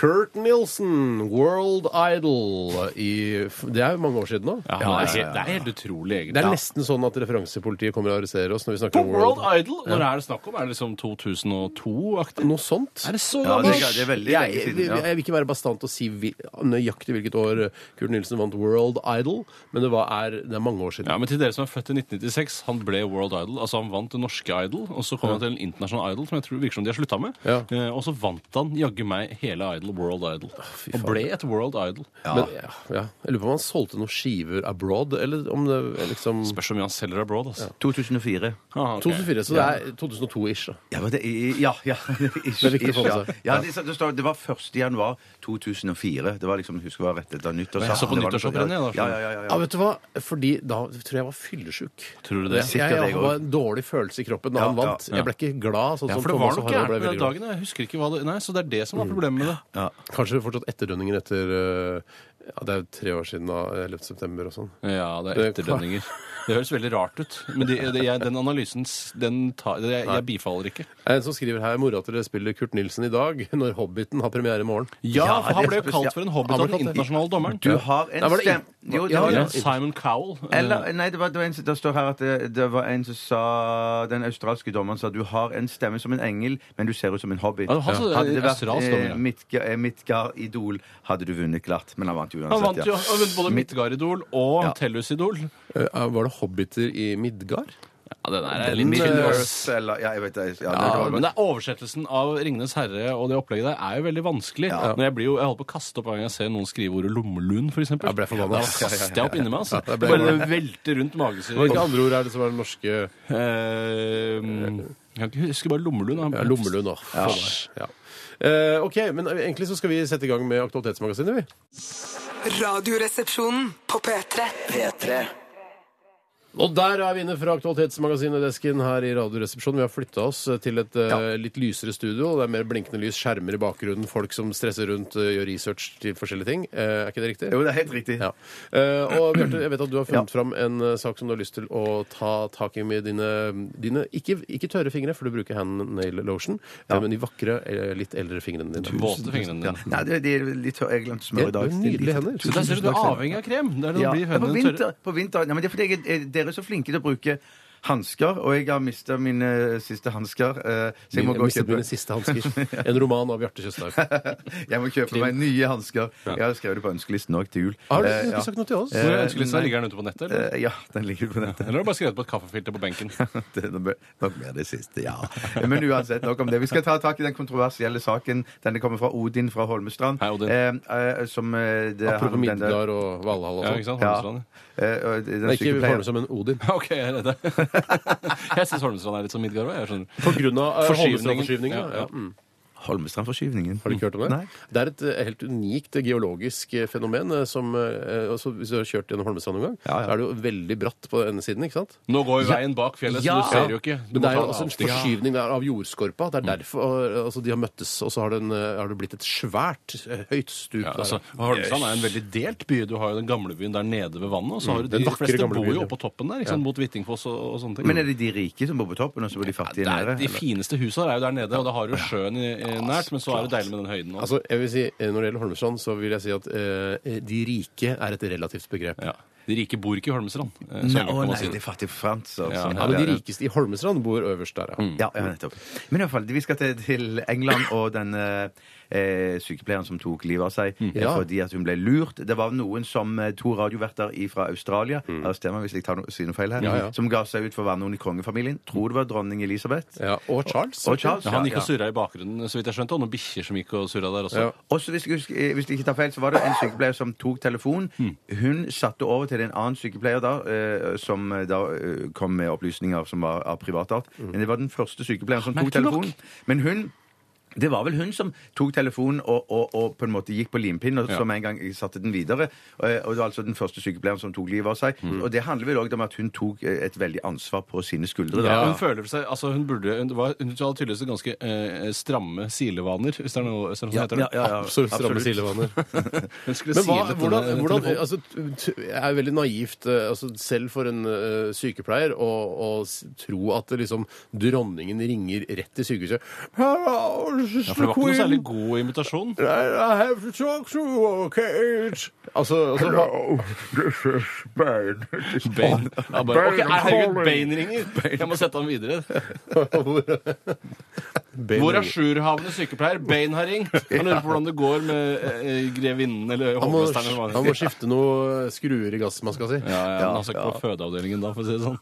Kurt Nilsen, World Idol i f- Det er jo mange år siden nå. Ja, han er helt- Det er helt utrolig, Det egentlig. er nesten sånn at referansepolitiet kommer og arresterer oss når vi snakker På om World World Idol. Idol, når er det snakk om? Er det liksom 2002-aktig? Noe sånt. Er det så Ja, det, gammelt? er- det er veldig Jeg, lenge jeg, siden. jeg, Ja. vil ikke være bastant og si vi, nøyaktig hvilket år Kurt Nilsen vant World Idol, men det, var, er, det er mange år siden. Ja, men til dere som er født i 1996, han ble World Idol. Altså han vant det norske Idol, og så kom han til en internasjonal Idol som jeg tror virker som de har slutta med. Ja. Eh, og så vant han jaggu meg hele Idol, World Idol. og ble et World Idol. Men, ja, ja. Jeg lurer på om han solgte noen skiver abroad, eller om det liksom Spørs hvor mye han selger abroad, altså. 2004. Ah, ok. 2004, så det er 2002-ish. da. Ja, men det, ja, ja. <laughs> Ish, Det er viktig å få med ish, seg. ja. Ja, det, det, står- det var 1. januar 2004. Det var liksom, husker jeg var rett etter nyttårsaften. Jeg så på Det var- nyttårshopprennet, jeg, da. Ja, ja, ja, ja, ja. Ja, vet du hva? Fordi da tror jeg var fyllesyk. Tror du det? Jeg, Sikkert jeg jeg var også. en dårlig følelse i kroppen da Ja, han vant. ja, ja. Jeg ble ikke glad. sånn Ja, som for det Thomas og var noe Harald gærent ble med den veldig glad. dagen. Jeg husker ikke hva det Nei, så det er det som var problemet med det. Kanskje fortsatt etterdønningen etter eh, ja, Det er jo tre år siden da 11. september og sånn. Ja, det er Det- <laughs> etterdønninger. Det høres veldig rart ut. Men de, de, jeg, den analysen s- den tar, det- jeg, jeg bifaller ikke. En som skriver her mora til dere spiller Kurt Nilsen i dag, <laughs> når Hobbiten har premiere i morgen. Ja, for han ble jo det- kalt for en hobbit han ble av kalt den det. internasjonale dommeren. Du har Nei, en var det stemme in- Jo, det Ja, var- ja. Ja, Simon Cowell. eh, Eller, nei, det, var, det, var en, det står her at det, det var en som sa Den australske dommeren sa du har en stemme som en engel, men du ser ut som en hobbit. Ja, han sa det, Hadde det vært australsk dommer, ja. eh, Midtga- eh, Midtgard-idol, hadde du vunnet glatt. Men han vant jo uansett. Han vant jo ja. han vant både Midgard-idol og Tellus-idol. Eh, Var det Hobbiter i Midgard? Ja, den er litt tynn, Earth, eller, ja, jeg vet det. Ja, det var, men det er Oversettelsen av 'Ringenes herre' og det opplegget der er jo veldig vanskelig. Når jeg, blir jo, jeg holder på å kaste opp hver gang jeg ser noen skrive ordet lommelun, f.eks. Jeg ble forbanna. Da kaster jeg opp inni meg. Altså. Ja, det Det ble bare velter rundt magen. Hvilke andre ord er det som er den norske ja, Eh, jeg kan ikke huske bare lommelun. han- Lommelund? da. Faen, mm. Ja. Eh, OK, men egentlig så skal vi sette i gang med Aktualitetsmagasinet, vi. Radioresepsjonen på P3. P3. Og der er vi inne fra Aktualitetsmagasinet-desken her i Radioresepsjonen. Vi har flytta oss til et eh, litt lysere studio. og Det er mer blinkende lys, skjermer i bakgrunnen, folk som stresser rundt, eh, gjør research til forskjellige ting. Eh, er ikke det riktig? jo, det er helt riktig. Ja. Eh, og Bjarte, jeg vet at du har funnet fram en eh, sak som du har lyst til å ta tak i med dine, dine ikke, ikke tørre fingre, for du bruker hand nail lotion, eh, men de vakre, eh, litt eldre fingrene dine. Våte fingrene Ja. dine. Nei, det, det er litt tørr. Jeg Ja, glemte smør i du har dag. nydelige hender. Så der ser du, du er avhengig av krem. Det er det Ja. blir Ja, på hønene tørre. eh, vinter, på vinter. Nei, men det er fordi jeg, er- dere er så flinke til å bruke hansker, og jeg har mista mine siste hansker. eh, Så jeg må gå og mistet mine kjøpe siste <laughs> hansker. En roman av Bjarte Tjøstheim. Jeg må kjøpe meg nye hansker. Jeg har skrevet det på ønskelisten òg til jul. Har du Eh, ikke ja. sagt noe til oss? Hvor er ønskelista? Ligger den ute på nettet? Eller? Eh, Ja, den ligger på nettet. Eller har du bare skrevet på et kaffefilter <laughs> på benken? <laughs> Det det ble- nok mer det siste, ja. Men uansett, nok om det. Vi skal ta tak i den kontroversielle saken. Denne kommer fra Odin fra Holmestrand. Hei, Odin. Eh, eh, som eh, det Apropos handler om den der- Midgard og Valhall og Ja, sånn. ikke sant? Ja. Holmestrand. ja. Eh, og den Nei, ikke sykepleieren. Holmestrand, men Odin. <laughs> Ok, jeg er redd. <laughs> Jeg syns Holmestrand er sånn, litt som Midgard òg, jeg skjønner. På grunn av eh, Forskyvningen. Holmestrand-forskyvningen. Ja, ja. Ja, mm. Holmestrandforskyvningen. Har du ikke hørt om det? Nei. Det er et eh, helt unikt eh, geologisk eh, fenomen. eh, Som, eh, altså, hvis du har kjørt gjennom Holmestrand noen gang, Ja, ja. så er det jo veldig bratt på denne siden. ikke sant? Nå går jo veien bak fjellet, så du ser jo ikke. Du Men må det er ta Mm. jo altså en avstikker. forskyvning der av jordskorpa. Det er derfor eh, altså, de har møttes, og så har, den, eh, har det blitt et svært eh, høyt stup Ja, der. altså, Holmestrand er en veldig delt by. Du har jo den gamle byen der nede ved vannet, og så har du de Mm, den vakre fleste gamle bor byen, jo ja. oppe på toppen der, ikke sant, mot Hvittingfoss og, og sånne ting. Men er det de rike som bor på toppen, og så bor de fattige det er, nede? de eller? fineste husa er jo der nede, og da har du sjøen i, i nært, men så er det deilig med den høyden også. Altså, jeg vil si, eh, Når det gjelder Holmestrand, så vil jeg si at eh, de rike er et relativt begrep. Ja. De rike bor ikke i Holmestrand. eh, så Nei, enkelt å kan man nei, si det er det. fattig Frans. og Ja, sånn. Ja, men de rikeste i Holmestrand bor øverst der, Mm. ja. Ja, ja, nettopp. Men i hvert fall, vi skal til, til England og den eh, sykepleieren som tok livet av seg eh, Mm. Ja. fordi at hun ble lurt. Det var noen som eh, to radioverter fra Australia arrester meg hvis jeg tar no sier noe feil her, Mm. Ja, ja. som ga seg ut for å være noen i kongefamilien. Tror det var dronning Elisabeth. ja. Og Charles. Og Charles, Ja, han gikk ja. og surra i bakgrunnen, så vidt jeg skjønte, og noen bikkjer som gikk og surra der også. Ja. Og så hvis, jeg husker- eh, hvis jeg ikke tar feil, så var det en sykepleier som tok telefon. Mm. Hun satte over til en annen sykepleier da, eh, som eh, da eh, kom med opplysninger som var av privat art. Men det var den første sykepleieren som tok Mm. Merkelig nok. telefonen. Men hun det var vel hun som tok telefonen og, og, og på en måte gikk på limpinnen, og Ja. som en gang satte den videre. Eh, Og det var altså den første sykepleieren som tok livet av seg. Mm. Og det handler vel òg om at hun tok eh, et veldig ansvar på sine skuldre. Da. Ja, hun føler seg, altså hun burde, hun, var, hun hadde tydeligvis ganske eh, stramme silevaner, hvis det er noe hvis det er noe som heter det. <laughs> Absolutt stramme silevaner. Hun skulle Men hva, sile til hvordan, den- den hvordan telefonen. altså, t- t- Jeg er veldig naivt eh, altså, selv for en eh, sykepleier å å s- tro at det liksom dronningen ringer rett til sykehuset. Hello, ja, for det var ikke noe særlig god imitasjon. I I have to talk to you, Kate. Altså, altså this is Spain. Bane. Ja, bare, ok, Bane, I'm herregud, calling. Bane ringer! Jeg må sette han videre. Bane- Hvor er jourhavende sykepleier? Bane har <laughs> ringt. Han lurer på hvordan det går med eh, grevinnen eller han må, hovmesteren. eller hva han må skifte noen skruer i gassmaska si. Ja, ja, men altså ikke på fødeavdelingen da, for å si det sånn.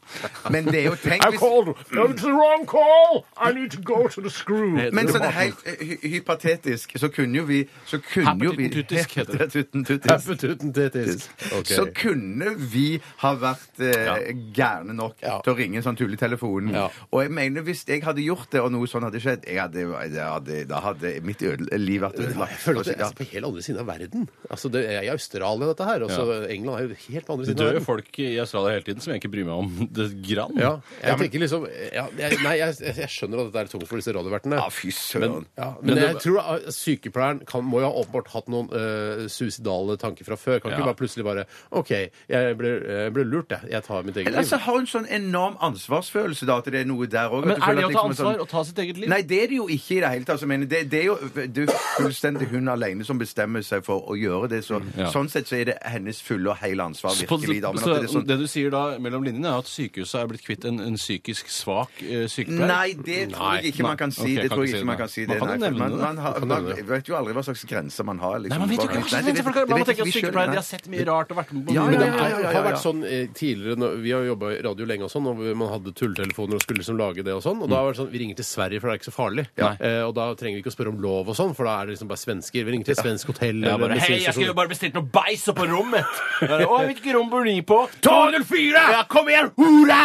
Men det er jo tenkt hvis- It's the wrong call! I need to go to the screw. Heter Men det sånn Morten? helt eh, hy hypatetisk så kunne jo vi så kunne jo vi, Herpetutentutisk heter det. Herpetutentutisk. Ok. Så kunne vi ha vært eh, gærne nok Ja. til å ringe en sånn tulletelefonen. Ja. Og jeg mener, hvis jeg hadde gjort det, og noe sånt hadde skjedd jeg hadde, jeg hadde, Da hadde mitt øde, liv vært ødelagt. Jeg Altså, føler at det Altså, er på helt andre siden av verden. Altså, det er i Australia, dette her. og så England er jo helt på andre Det siden av dør jo verden. folk i Australia hele tiden som jeg ikke bryr meg om <laughs> det grann. Ja, jeg tenker liksom ja, jeg, Nei, jeg, jeg skjønner at dette er tungt for disse radiovertene. Ja, fy søren. Ja, men, Men det- jeg tror at sykepleieren kan, må jo ha åpenbart hatt noen eh, suicidale tanker fra før. Kan Ja. ikke bare plutselig bare OK, jeg ble, jeg ble lurt, jeg. Jeg tar mitt eget Eller liv. så har hun sånn enorm ansvarsfølelse, da, at det er noe der òg. Men er det å ta ansvar å ta sitt eget liv? liksom sånn- Nei, det er det jo ikke i det hele tatt. Altså, men det, det er jo det er fullstendig hun alene som bestemmer seg for å gjøre det. Så, Mm, Ja. Sånn sett så er det hennes fulle og hele ansvar Så, virkelig. Da, men så at det er sånn, det du sier da mellom linjene, er at sykehuset er blitt kvitt en, en psykisk svak eh, sykepleier? Nei, det tror jeg ikke Nei. man kan si. Ok, det kan tror ikke jeg si ikke man det. kan si. Man det. kan jo Nei, for nevne man, det. man, har, Man kan man nevne det. vet jo aldri hva slags grenser man har. Liksom, Nei, man vet jo Nei, ikke hva det slags vet- grenser folk har. Man det må vet tenke at ikke vi selv, sykepleiere nei. de har sett mye rart og vært med på Ja, Men mye ja, ja, ja, ja, Det ja. har vært sånn eh, tidligere når Vi har jobba i radio lenge og sånn, og man hadde tulletelefoner og skulle liksom lage det og sånn. Mm. Og da var det sånn Vi ringer til Sverige, for det er ikke så farlig. Nei. Eh, og da trenger vi ikke å spørre om lov og sånn, for da er det liksom bare svensker. Vi ringer til et svensk hotell eller Ja, sånn." en bare, Hei, jeg bensinstasjon. skulle jo bare bestilt noe beis oppå <laughs> rommet! Bare, Å, jeg vet ikke rom bor ni på! 204! Ja, kom igjen, hora!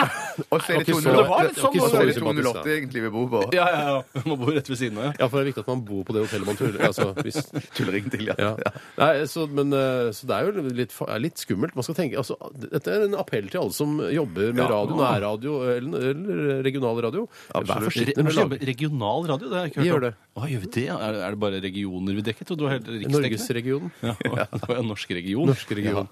Og så er det Det var ikke så- det var litt 208, sånn og så er det usympatisk, da. 208 egentlig vi bor på. Ja, ja, ja. Jeg Må bo rett ved siden av, ja. Ja, for det er viktig at man bor på det hotellet man tuller. Altså, hvis, <laughs> Tullering til, ja. ja. Nei, så, men, eh, så det er jo litt, fa- er litt skummelt. Man skal tenke, altså, dette er en appell til alle som jobber med radio, nærradio eller, eller regional radio. Vær Absolutt. forsiktig Re med å lage regional radio, det har jeg ikke Vi hørt gjør om. det. Hva gjør vi det? Er, er det bare regioner vi dekker? Jeg trodde det var helt riksdekkende. Norgesregionen. <laughs> Ja, det var en norsk region. Norske region.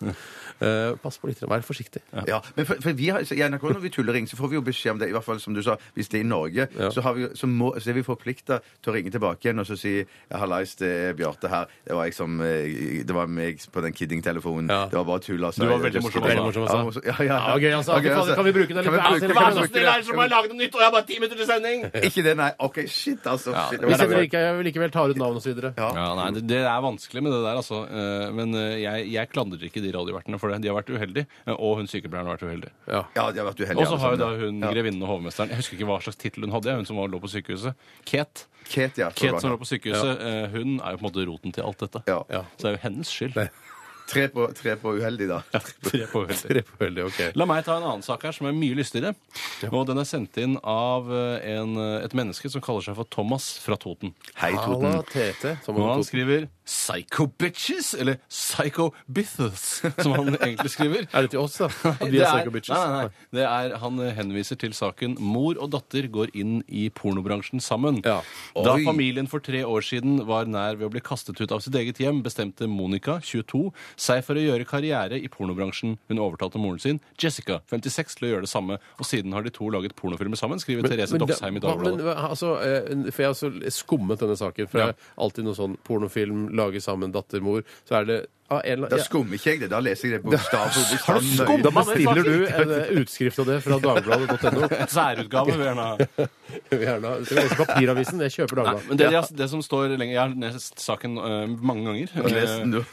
Eh, pass på litt, vær forsiktig. Ja, men for, for vi har, så I NRK når vi tuller ring, så får vi jo beskjed om det. i hvert fall som du sa, Hvis det er i Norge, Ja. så, har vi, jo- så, må, så er vi forplikta til å ringe tilbake igjen og så si Hallais, det er Bjarte her. Det var, jeg som, eh, det var meg på den kidding-telefonen. Ja. Det var bare tull. Altså. Du var veldig morsom, Veldig morsom, altså. Ja, morsom. Ja, ja, ja. Ja, gøy, altså. Ja, gøy, Kan vi bruke det litt? Kan vi Altså, vær bruke- kan vi så bruke snill, det? er det som har laget noe nytt, og jeg har bare ti minutter til sending! Ikke det, nei. OK, shit, altså. Ja, Shit, det det Hvis var jeg dårlig. ikke, vil ikke vel tar ut navn osv. Ja. Ja. Ja, nei, det, det er vanskelig med det der, altså. Eh, Men eh, jeg, jeg klandrer ikke de radiovertene for det. De har vært uheldige, eh, og hun sykepleieren har vært uheldig. Ja. ja, de har vært altså. uheldige. Og så har jo alle da sammen. hun grevinnen og hovmesteren Jeg husker ikke hva slags tittel hun hadde, jeg, hun som var- lå på sykehuset. Kate. Kate, ja. tror jeg Kate som det lå var. på sykehuset, eh, hun er jo på en måte roten til alt dette. Ja. Ja. Så det er jo hennes skyld. Nei. Tre, på, tre på uheldig, da. Tre på uheldig. Tre på veldig, ok. La meg ta en annen sak her som er mye lystigere. Og den er sendt inn av eh, en, et menneske som kaller seg for Thomas fra Toten. Hei, Toten. Halla, Tete. Som Og han han tok. skriver 'psycho bitches', eller 'psycho bitches', <laughs> som han egentlig skriver. Er det til oss, da? At vi Det er er- psycho bitches? Nei, nei, nei. Det er, han eh, henviser til saken 'Mor og datter går inn i pornobransjen sammen'. Ja. Da Oi. familien for tre år siden var nær ved å bli kastet ut av sitt eget hjem, bestemte Monica, 22, seg for å gjøre karriere i pornobransjen. Hun overtalte moren sin, Jessica, 56, til å gjøre det samme. Og siden har de to laget pornofilmer sammen, skriver Therese da- Doxheim i hva- men, Dagbladet. hva- altså, eh, for jeg har også skummet denne saken. For Ja. det er alltid noe sånn pornofilm, lage sammen, datter, mor. Så er det av en eller Da ja. skummer ikke jeg det. Da leser jeg det bokstav for bokstav. Da bestiller du en eh, utskrift av det fra dagbladet.no. En Særutgave, vil jeg gjerne ha. Vi gjerne ha- skal vi lese Papiravisen, jeg kjøper Nei, Dagbladet. men det, altså Ja. det som står lenger Jeg har lest saken eh, mange ganger. Les den, du.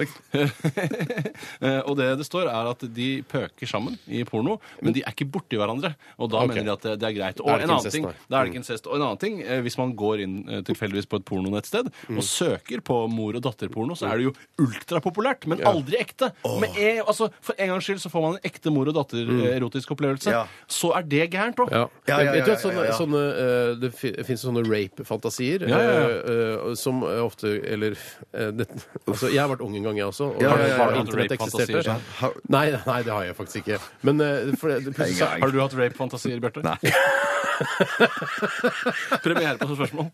Eh, og det det står, er at de pøker sammen i porno, men de er ikke borti hverandre. Og da Ok. mener de at det, det er greit. Og Da Mm. er det en ikke annen incest, ting, nei. da er det ikke incest. Og en annen ting, eh, hvis man går inn eh, tilfeldigvis på et pornonettsted Mm. og søker på mor- og datterporno, så er det jo ultrapopulært, men aldri ekte. Men eh, altså, for en gangs skyld så får man en ekte mor- og datter-erotisk opplevelse. Ja. Så er det gærent òg. Mm. Ja. Ja, ja, Vet du ja, at sånne, ja, ja. sånne, eh, det fins sånne rape-fantasier Ja, ja, ja. eh, eh, som eh, ofte Eller eh, det, altså, Jeg har vært ung en gang, jeg også. Og Ja, ja, da ja, ja. var Har du hatt internett rape-fantasier, eksisterte. sånn? Har- Nei, nei, det har jeg faktisk ikke. Men eh, for, det- plutselig så- Nei, Har du hatt rape-fantasier, Bjarte? Nei. <laughs> Premiere på sånt spørsmål.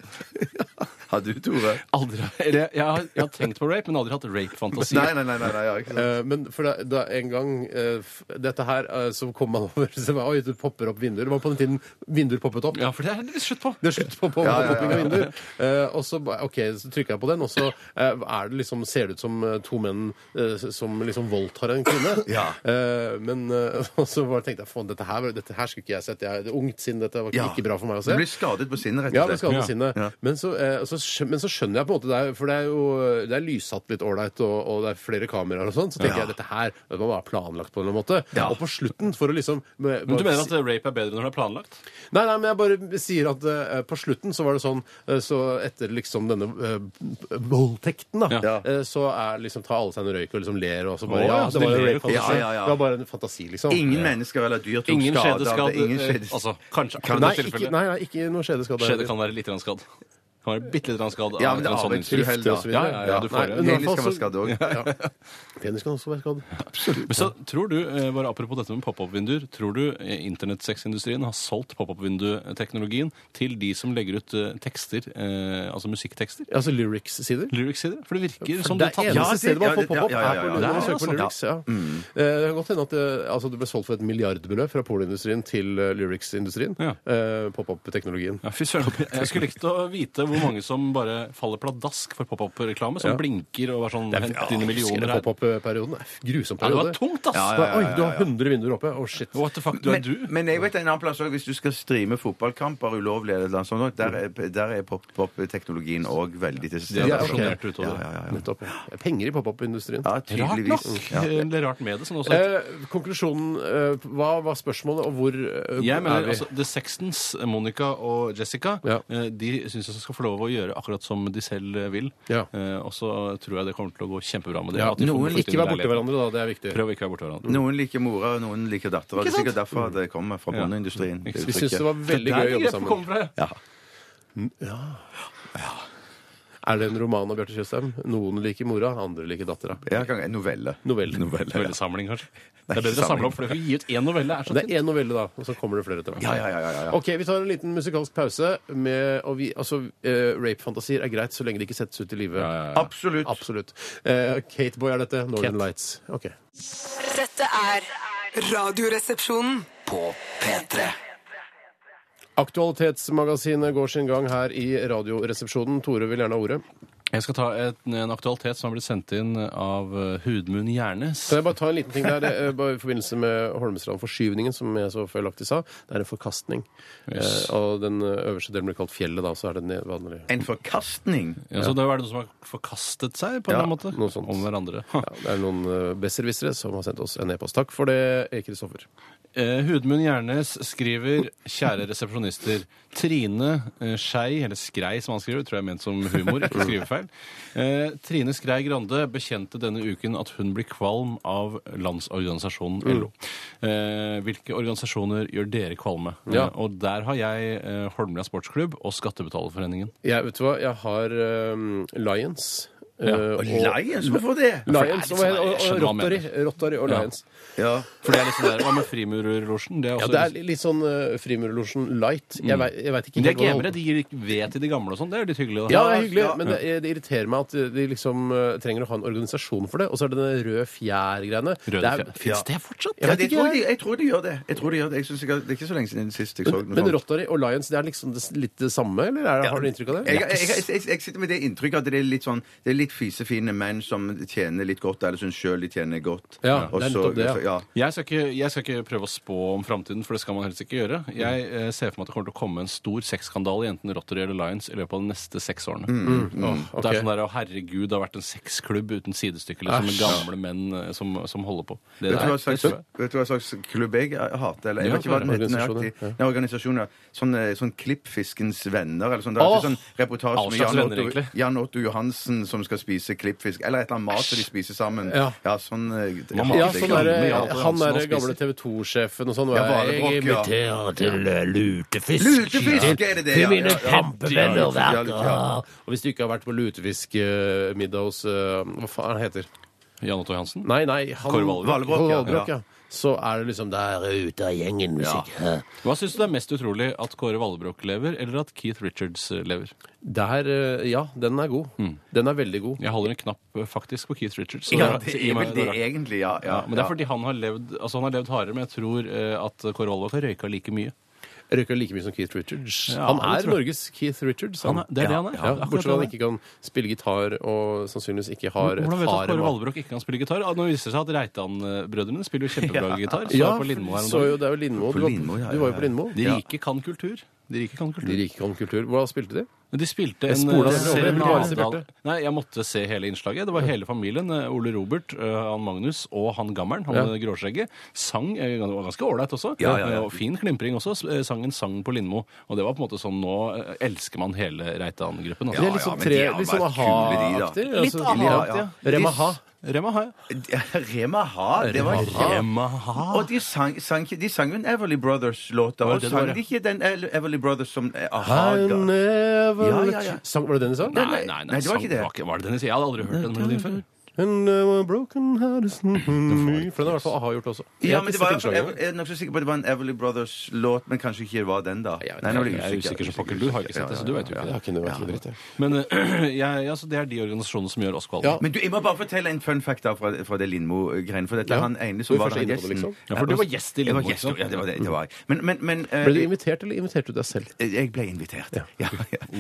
Har du, Tore? Aldri, eller, jeg, har, jeg har tenkt på rape, men aldri hatt rape-fantasier. Nei, nei, nei. nei, nei ja, ikke sant. Eh, Men for da, da en gang eh, f- dette her, eh, så kom man over <laughs> så, var- Oi, det popper opp vinduer. Det var på den tiden vinduer poppet opp. Ja, for det er det litt slutt på. Det er slutt på, på Ja, ja, ja, popping ja. av vinduer. Eh, og så, ba- ok, så trykka jeg på den, og så eh, er det liksom, ser det ut som eh, to menn eh, som liksom voldtar en kvinne. <laughs> Ja. Eh, men eh, <laughs> og så bare tenkte jeg faen, dette, her var- dette her skulle ikke jeg sett. Jeg er ungt siden dette var ikke, Eh, Ja. ikke bra for meg å se. Du blir skadet på sinnet, rett Ja, og det slett. skal ha Ja. på sinnet. Ja. Men, så, eh, så, skjø- men så skjønner jeg på en måte det, er- for det er jo det er lyssatt litt ålreit, og, og det er flere kameraer og sånn, så tenker Ja. jeg dette her det må være planlagt på en eller annen måte. Ja. Og på slutten, for å liksom med, Men du bare mener si- at rape er bedre når det er planlagt? Nei, nei, men jeg bare sier at eh, på slutten så var det sånn eh, Så etter liksom denne eh, voldtekten, da, Ja. eh, så er liksom tar alle seg en røyk og liksom ler og så bare Å, Ja, ja, så det var de jo ler rape jo ikke. fantasi. Ja, ja, ja. Det var bare en fantasi, liksom. Ingen mennesker eller dyr tok Ingen skade av skjedeskadd. det. Ingen skjedes- Altså, kanskje. Kan- Nei, akkurat ikke, tilfellet. nei, nei, ikke noe skjedeskade. Skjedet kan være litt grann skadd. Kan være bitte litt grann skadd Ja, av men det en sånn avhenger innskyld. av Drift og så uheldig, videre. Ja, ja, ja, du får Nei, det. men i hvert Penis fall kan være så- skadd òg. Penis kan også være skadd. Men så tror du, eh, bare apropos dette med pop-up-vinduer, tror du eh, internettsexindustrien har solgt pop-up-vindu-teknologien til de som legger ut eh, tekster, eh, altså musikktekster? Altså lyrics-sider. Lyrics-sider? For det virker som det du tar eneste Ja, det- stedet man får ja, pop-opp, ja, ja, ja, er ja. på, når man Det er søker på sånn. lyrics. Ja. Eh, Det kan godt hende at det, altså, det ble solgt for et milliardbeløp fra pornoindustrien til eh, lyrics-industrien. Ja. eh, Pop-up-teknologien. Ja, fy søren. <laughs> Jeg skulle likt å vite hvor mange som bare faller pladask for pop-up-reklame, som Ja. blinker og er sånn Hent dine Husker millioner du her. pop-up-perioden? Det er Grusom Ja, det periode. var tungt, ass! Ja, ja, ja, ja, ja. Oi, du har 100 vinduer oppe. Å, shit. What the fuck, du er Men, du? men jeg vet en annen plass også, hvis du skal streame fotballkamper ulovlig, eller noe sånt, der er, der er pop-pop-teknologien òg veldig til Det stede. er Ja, ok. rasjonert utover. Ja, ja, ja. Nettopp. ja. Penger i pop-up-industrien. ja, Rart tydeligvis. nok. Eh, Ja. Eller rart med det, som det også heter. Eh, konklusjonen eh, Hva var spørsmålet, og hvor eh, Jeg er mener vi? altså The Sextons, Monica og Jessica, Ja. eh, de syns de skal få lov å gjøre akkurat som de selv eh, vil. Ja. Eh, Og så tror jeg det kommer til å gå kjempebra med det. ja, at de får noen flytte inn ikke i være borti leiligheten. hverandre, da. Det er viktig. Prøv å ikke være borti hverandre. Noen liker mora, og noen liker dattera. Det er sikkert derfor det kommer fra bondeindustrien. det Vi uttrykket. syns det var veldig gøy å jobbe sammen. Kommer fra. Ja. Er det en roman av Bjarte Tjøstheim? Noen liker mora, andre liker dattera. Ja, kan- novelle. Novelle. Novellesamling, kanskje. Det ikke er bedre å samle samling. opp, for det å gi ut én novelle er så Det er én novelle, da, og så kommer det flere etter hvert. Ja, ja, ja, ja, ja. Ok, vi tar en liten musikalsk pause. Med, og vi, altså, eh, Rapefantasier er greit så lenge det ikke settes ut i livet. Absolutt. Absolutt. Eh, Kateboy er dette. Northern Kate. Lights. Ok. Dette er Radioresepsjonen. På P3. Aktualitetsmagasinet går sin gang her i Radioresepsjonen. Tore vil gjerne ha ordet. Jeg skal ta et, en aktualitet som har blitt sendt inn av eh, Hudmunn Hjernes. Kan jeg bare ta en liten ting der, eh, bare i forbindelse med Holmestrand-forskyvningen, som jeg så feilaktig sa. Det er en forkastning. Yes. Eh, og den eh, øverste delen blir kalt fjellet, da, så er det ned- vanlig. En forkastning. Ja, så det er noen som har forkastet seg på en eller annen måte? noe sånt. Om hverandre. Ja, det er noen eh, besserwissere som har sendt oss en e-post. Takk for det, Kristoffer. <laughs> Eh, Hudmunn Hjernes skriver Kjære resepsjonister. Trine eh, Skei, eller Skrei som han skriver, tror jeg er ment som humor, ikke skrivefeil. Eh, Trine Skrei Grande bekjente denne uken at hun blir kvalm av landsorganisasjonen Mm. LO. Eh, hvilke organisasjoner gjør dere kvalme? Ja. Eh, og der har jeg eh, Holmlia Sportsklubb og Skattebetalerforeningen. Jeg, vet du hva, jeg har eh, Lions. eh, Og Lions, hvorfor det? Lions og, Ja, for det er og, litt sånn- jeg skjønner og hva han Rotary, Rotary og Ja. Lions. Ja. For det er liksom der, Hva med Frimurerlosjen? Det er Ja, også det er litt sånn uh, Frimurlosjen light. Jeg veit, jeg vet ikke Men de er helt hva det gamere, de gir ikke ved til de gamle og sånn. Det er jo litt hyggelig. da. Ja, det er hyggelig, Ja. men det, eh, det irriterer meg at de liksom eh, trenger å ha en organisasjon for det. Og så er det den røde fjær-greiene. Røde Det er- fjær. Fins det fortsatt? Jeg Ja, vet det ikke, tror jeg. de, jeg tror de gjør det. Jeg tror de gjør det. Jeg synes ikke, det er ikke så lenge siden sist jeg så noe Men sånt. Rotary og Lions det er liksom det, litt det samme, eller er, det- har du inntrykk av det? Jeg, jeg, jeg, jeg, jeg sitter med det inntrykket at det er litt sånn Det er litt fisefine menn som tjener litt godt, eller syns sjøl de tjener godt. Ja, Og det er så- nettopp det, ja. ja. Jeg skal, ikke, jeg skal ikke prøve å spå om framtiden, for det skal man helst ikke gjøre. Jeg eh, ser for meg at det kommer til å komme en stor sexskandale i enten Rotary eller Lions i løpet av de neste seks årene. Mm. Mm. Åh, Det ok. er sånn der, å herregud, det har vært en sexklubb uten sidestykke, liksom, med gamle menn eh, som, som holder på. Det Vet du, der, hva det slags, tror jeg. vet du hva slags klubb jeg hater? Eller, jeg Ja, vet ikke hva den heter organisasjoner, nøyaktig. ja. Nei, organisasjoner. Sånn, eh, sånn Klippfiskens venner eller sånn. Det er Åh! alltid sånn reportasje All med slags Jan venner, Otto, egentlig. Jan Otto Johansen som skal spise klippfisk. Eller et eller annet mat som de spiser sammen. Ja. sånn eh, Man må Ja, hater sånn ikke jeg ikke. derre- der, med Jan Otto han Hansen og derre gamle spiser. TV 2-sjefen og sånn. Ja, var jeg- Valebrokk, ja. til eh, lutefisk. Lutefisk er det det, Til mine ja, pampevenner Ja, hvert litt, år. ja. Og hvis du ikke har vært på lutefiskmiddag hos eh, Hva faen heter det? Jan Otto Johansen? Nei, nei, han Kåre Valbrokk. Valbrokk, ja. Valbrokk, ja. Så er det liksom der Bare ute av gjengen musikk. Ja. Hva syns du det er mest utrolig, at Kåre Vallebrokk lever, eller at Keith Richards eh, lever? Der, eh, ja, den er god. Mm. Den er veldig god. Jeg holder en knapp eh, faktisk på Keith Richards. så Ja, da- det så gi er meg- vel det da- egentlig, ja. ja, Ja, men det er ja. fordi han har levd altså han har levd hardere, men jeg tror eh, at Kåre Vallebrokk har røyka like mye. Jeg Røyker like mye som Keith Richards. Ja, han det er tror jeg. Norges Keith Richards. Han er- det er det han er. Ja, Det er akkurat bortsett det fra han at han ikke kan spille gitar, og sannsynligvis ikke har et Hvordan vet du at harem. Kåre av- Valbrokk ikke kan spille gitar? Ah, Nå viser det seg at Reitan-brødrene spiller jo kjempebra gitar. Så <laughs> Ja, er på Lindmo her om så jo, dagen. det er jo Lindmo. Du, På var- Lindmo, ja, du var jo ja, på ja. Lindmo. De rike kan kultur. De rike kan kultur. De rike kan kultur. Hva spilte de? Men De spilte Jeg en spoler eh, deg over. Jeg vil bare se serenade- Bjarte. Nei, jeg måtte se hele innslaget. Det var hele familien. eh, Ole Robert, eh, han Magnus og han gammelen, han Ja. med gråskjegget, sang eh, Det var ganske ålreit også. Ja, ja, ja. Og fin klimpring også. s- eh, Sang en sang på Lindmo. Og det var på en måte sånn Nå eh, elsker man hele Reitan-gruppen. De er Altså. litt sånn men tre, de har litt sånn vært kule, de, da. aha-aktig. Litt altså. aha-aktig, Ja, ja. Rema ha. Rema har jeg. Rema Ha, det var Rema ha. Og de sang, sang, ikke- de sang jo en Everly Brothers-låt. Var Og det det var, sang Ah. ja? de ikke den El- Everly Brothers som eh, A-ha I ga? never Ja, ja, let ja. you- Sang, var det den de sang? Nei, nei, Nei, det var ikke det. Var det den jeg sier? Jeg hadde aldri hørt den melodien før. And now I'm broken hearted. For den har i hvert fall a-ha gjort også. Jeg Ja, har men ikke det var, sett innslaget. jeg er nokså sikker på at det var en Everly Brothers-låt, men kanskje ikke det var den, da. jeg vet Nei, nå ble Jeg er usikker som pokker. Du har ikke sett det, så du vet jo Ja, ja, ikke Jeg det. har ikke noe- jeg har ikke noe dritt, jeg. Men eh, <clears throat> jeg, altså, det er de organisasjonene som gjør oss kvalme. Ja. ja. Men du, jeg må bare fortelle en fun fact da fra, fra det Lindmo-greiene. For dette Ja. er han ene Du som er var først der inne på det, gjesten. liksom. Ja, for du var gjest i Jeg var Lindmo, gjest, ikke sant? Ja, det var det. det var jeg. Men, men, men eh, Ble du invitert, eller inviterte du deg selv? jeg ble invitert. Ja, ja.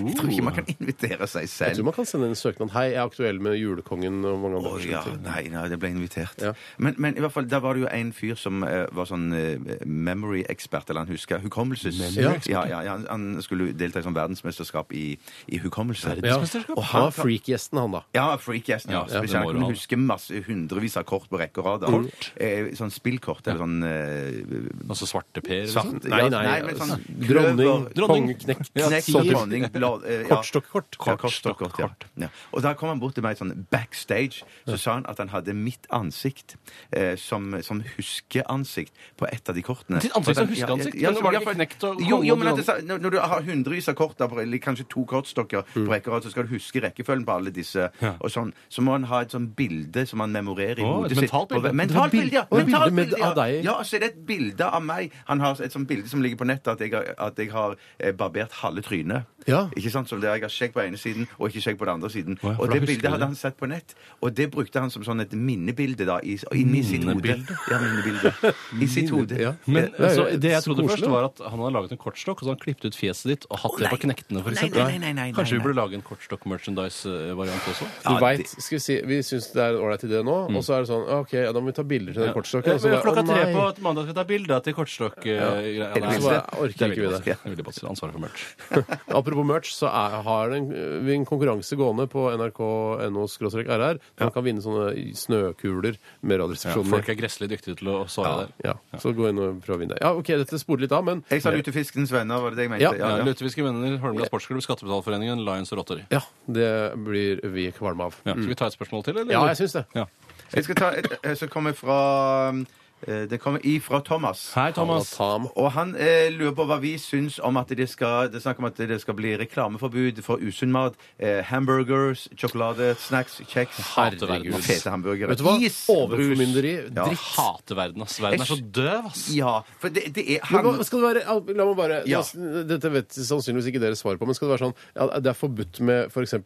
Jeg tror ikke man kan invitere seg Jeg tror selv. man kan sende en søknad. Hei, jeg er aktuell med Julekongen og mange Å andre ja, forskjellige ting. nei, nei, det ble invitert. Ja. Men, men i hvert fall, der var det jo en fyr som eh, var sånn eh, memory-ekspert, eller han husker hukommelses... Ja, Memory-ekspert? ja, ja, han, han skulle delta i sånn verdensmesterskap i, i hukommelse. Ja. Mesterskap. Og han var freak-gjesten, han da. Ja, freak-gjesten. Ja, Ja, det spesielt må du han ha. kunne huske masse, hundrevis av kort på rekke og rad. da. Eh, sånn spillkort eller sånn eh, Altså Svarte Per. eller svart sånt. ja, men sånn altså, dronning, kløver- Dronning. kongeknekt, Ja, Knekk, Tiger. sånn Dronning, blad, eh, ja. kortstokkort. Ja, kortstokkort, ja. ja. Og da kom han bort til meg sånn backstage. så sa han at han hadde mitt ansikt eh, som, som huskeansikt på et av de kortene. Ditt ansikt For at som han- ja, huskeansikt? ja, Men ja, var det ja, for- ikke knekt og- Jo, jo, men at det, sa- når når du har hundrevis av kort, da, på- eller kanskje to kortstokker Mm. på rekke og rad, så skal du huske rekkefølgen på alle disse. Og sånn, så må han ha et sånn bilde som han memorerer i Å, hodet et sitt. mentalt bilde. Og- Mentalt bilde, ja! Å, et Mentalt bilde med- bilde, ja. av deg. Ja, så er det et bilde av meg. Han har et sånt bilde som ligger på nettet, at jeg har, at jeg har eh, barbert halve trynet. Ja. Ikke sant? Så det er jeg har skjegg på ene siden og ikke skjegg på den andre siden. ja, for og da det husker du bildet hadde det. han sett på nett, og det brukte han som sånn et minnebilde da, i, inni sitt hode. Minnebilde? Ja, minnebilde. I sitt hode. Ja. Men Det er jo så, det jeg så trodde koselig, først, da. var at han hadde laget en kortstokk, og så hadde han klippet ut fjeset ditt og hatt det på knektene, for Nei, eksempel. nei, nei, nei, nei, Kanskje vi nei. burde lage en kortstokk-merchandise-variant også? Du vet, skal vi si, vi syns det er en ålreit idé nå, Mm. og så er det sånn OK, ja, da må vi ta bilder til den kortstokken. Ja, og så men bare, klokka å, tre nei. på et mandag skal jeg ta bilde til kortstokk. eh, greia. det Nei, minste. så bare- Jeg orker det er ikke vi veldig det. vanskelig. er veldig vanskelig. Ansvaret for <laughs> merch. Apropos merch, så er, har den- eh, vi en konkurranse gående på nrk.no-rr. Man kan vinne sånne snøkuler med Ja, Radioresepsjonen. folk er gresselig dyktige til å svare der. Ja, så gå inn og prøv å vinne. Ja, OK, dette sporer litt av, men Jeg sa Lutefiskens venner, var det det jeg mente? Ja, Ja, Lutefiske venner, Holmlia Sportsklubb, Skattebetalerforeningen, Lions og Rotary. ja, det blir vi kvalme av. Ja. Skal vi ta et spørsmål til, eller? Ja, jeg syns det. Ja. Jeg skal ta et eh, som kommer fra eh, Det kommer ifra Thomas. Hei, Thomas. Tam. Og han eh, lurer på hva vi syns om at det skal, det er snakk om at det skal bli reklameforbud for usunn mat. Eh, hamburgers, sjokolade, snacks, kjeks. hater verden, ass. Fete hamburgere. Vet du hva? Is, Overformynderi. brus. Ja. Dritt. Hater verden, ass. Verden er så døv, ass. Ja, for det, det er Men han, hva skal det være, al- la meg bare, Ja. la- Dette vet sannsynligvis ikke dere svar på, men skal det være sånn ja, Det er forbudt med f.eks. Eh,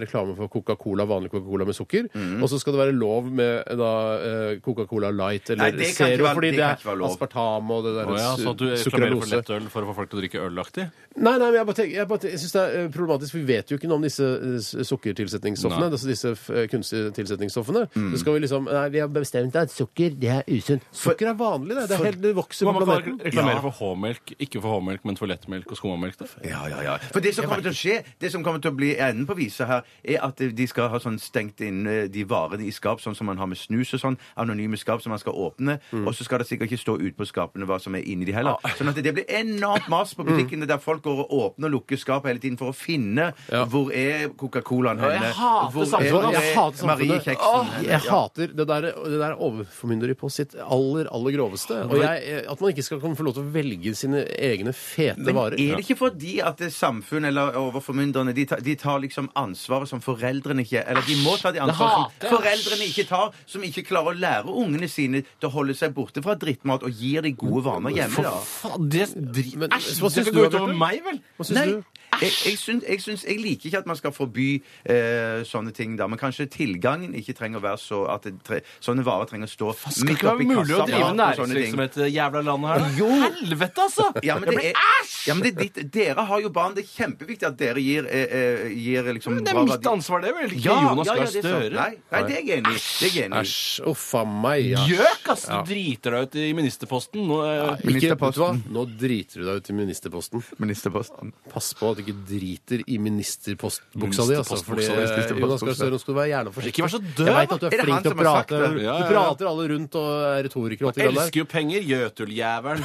reklame for Coca-Cola, vanlig Coca-Cola med sukker. Mhm. Og så skal det være lov med da, eh, Coca-Cola Light eller Nei, det kan ikke Zero, være- fordi det det kan ikke være er lov. aspartam og det der Å ja, så at du su- reklamerer for lettøl for å få folk til å drikke ølaktig? Nei, nei, men jeg, bare tenker, jeg, bare tenker, jeg synes det er eh, problematisk. Vi vet jo ikke noe om disse eh, s- sukkertilsetningsstoffene. Nei. Altså disse f- eh, kunstige tilsetningsstoffene. Mm. Så skal vi liksom Nei, vi har bestemt at sukker, det er usunt. Sukker er vanlig, det. Det, er helt, det vokser Man på kan bare planeten. reklamere for H-melk, ikke for H-melk, men for lettmelk og skummelk. ja, ja, ja. For det som kommer til å skje, det som kommer til å bli enden på visa her, er at de skal ha sånn stengt inn eh, de varene i skap, sånn som man har med snus og sånn. Anonyme skap som man skal åpne. Og så skal det sikkert ikke stå ut på skapene hva som er inni de heller. Sånn at det blir enormt mas på butikkene der folk går og åpner og lukker skap hele tiden for å finne hvor er Coca-Colaen jeg henne. hater Hvor samfunnet, er- hvor Jeg er hater samfunnet. Marie-kjeksen. Åh, henne? Jeg Ja. hater det der, det der overformynderi på sitt aller, aller groveste. Og jeg, at man ikke skal kunne få lov til å velge sine egne fete Men er varer. det ikke fordi at det samfunn eller overformynderne de, tar- de tar liksom ansvaret som foreldrene ikke Eller de må ta de ansvaret hater jeg. som foreldrene ikke tar, som ikke klarer å lære ungene sine til å holde seg borte fra drittmat og gir de gode vaner hjemme. da. Faen, det driter Men Æsj! hva Det syns skal du, gå ut Bjarte? over meg, vel? Hva syns Nei, du? jeg, jeg, syns, jeg, syns, jeg liker ikke at man skal forby eh, sånne ting, da. Men kanskje tilgangen ikke trenger å være så at det tre, sånne varer trenger å stå Skal midt ikke oppi være mulig å kassa drive bak og sånne ting. næringsvirksomhet i det jævla landet her? da? Helvete, altså! Ja, men det Jeg blir er, æsj! ja, men det er ditt, dere har jo barn. Det er kjempeviktig at dere gir, eh, eh, gir liksom Men det er bra mitt verdi- ansvar, det, vel? Ikke Ja, Jonas ja, ja, Gahr det er sant. Støre. Nei, nei, det er jeg enig i. Det er jeg enig i. Æsj, uff a meg. ja. Gjøk, ass! Du driter deg ut i ministerposten. Nå, eh, Ikke, vet du hva? Nå driter du deg ut i ministerposten. Ministerposten. Pass på at du ikke driter i ministerpostbuksa di. Altså, fordi Ministerpostbuksa di, ministerpostbuksa. Jonas Gahr Støre, nå skal du være gjerne forsiktig. Ikke vær så døv, Jeg vet at du da. Er er det han flink til å som har sagt prate. det? Ja, ja, Du ja. prater alle rundt og er retoriker. og alt det der. elsker jo penger, gjøtuljævelen.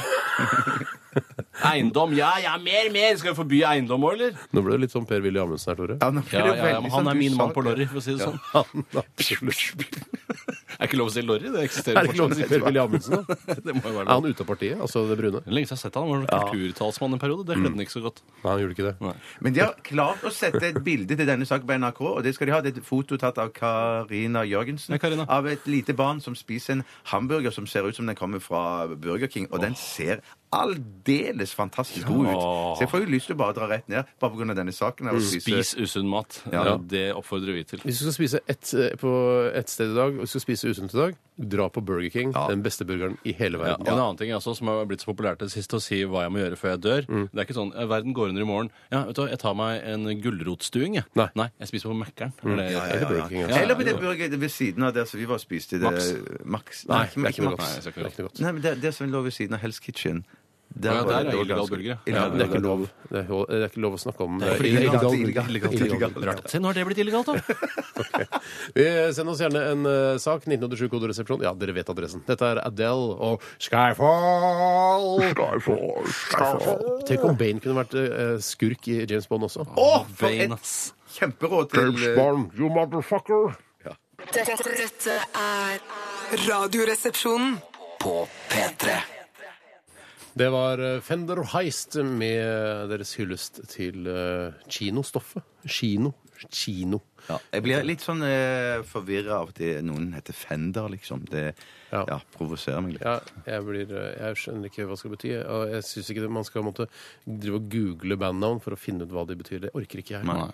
Eiendom. Ja, ja, mer, mer! Skal vi forby eiendom òg, eller? Nå ble det litt sånn Per Willy Amundsen her, Tore. Ja, nå blir Ja, det ja, ja, veldig men sånn han er du min sa mann på det. lorry, for å si det sånn. Han, absolutt. <laughs> Er ikke lov å si lorry? Det Er eksisterer det ikke lov å si fortsatt. Per Willy Amundsen, da? Det må jo være <laughs> Er lov. han ute av partiet, altså det brune? Det er Lenge siden jeg har sett han. Han var kulturtalsmann en periode. Det kledde han ikke så godt. Nei, han gjorde ikke det. Nei. Men de har klart å sette et bilde til denne saken på NRK, og det skal de ha. Det er et foto tatt av Karina Jørgensen. Hei, Karina. Av et lite barn som spiser en hamburger som ser ut som den kommer fra Burger King, og den ser aldeles fantastisk god ut. Ja. Så jeg får jo lyst til å bare dra rett ned, bare pga. denne saken. her, og spise- Spis usunn mat. Ja. Det oppfordrer vi til. Hvis du skal spise ett eh, på ett sted i dag, og du skal spise usunt i dag, dra på Burger King. Den beste burgeren i hele Ja, og verden. En annen ting altså, som har blitt så populært til sist, å si hva jeg må gjøre før jeg dør. Det er ikke sånn eh, 'verden går under i morgen'. Ja, vet du, hva, jeg tar meg en gulrotstuing, jeg. Nei. jeg spiser på Mækkern. Eller- Eller Burger King. Ja, Altså. Eller på det burger ved siden av der som vi var og spiste. Det, Max. Max. Nei, det er ikke noe Max. Nei, godt. det er Det ikke er ikke noe godt. Nei, men det, det som lå ved siden av Hell's Kitchen Der, Ja, der var det- er det var illegal ganske- burger, ja. illegal Ja, Det er ikke burger. lov, det er, det er ikke lov å snakke om fordi Illegal illegalt, burger. illegalt, illegalt, Illegal illegalt. burger. Rart. Se, nå har det blitt illegalt, da. Vi Send oss gjerne en eh, sak. 1987 koderesepsjon. Ja, dere vet adressen. Dette er Adele og Skyfall. Skyfall, Tenk om Bane kunne vært eh, skurk i James Bond også. Å, for Bane, et ass. kjemperåd til eh, Bond, you motherfucker. Dette, dette er Radioresepsjonen. På P3. Det var eh, Fender og Heist med deres hyllest til eh, kinostoffet. Kino. Kino. Ja. Jeg blir litt sånn eh, forvirra av at det, noen heter Fender, liksom. Det ja. Ja. provoserer meg litt. Ja, jeg, blir, eh, jeg skjønner ikke hva det skal bety. Og jeg syns ikke det- man skal måtte drive og google bandnavn for å finne ut hva de betyr. Det orker ikke jeg. Nei.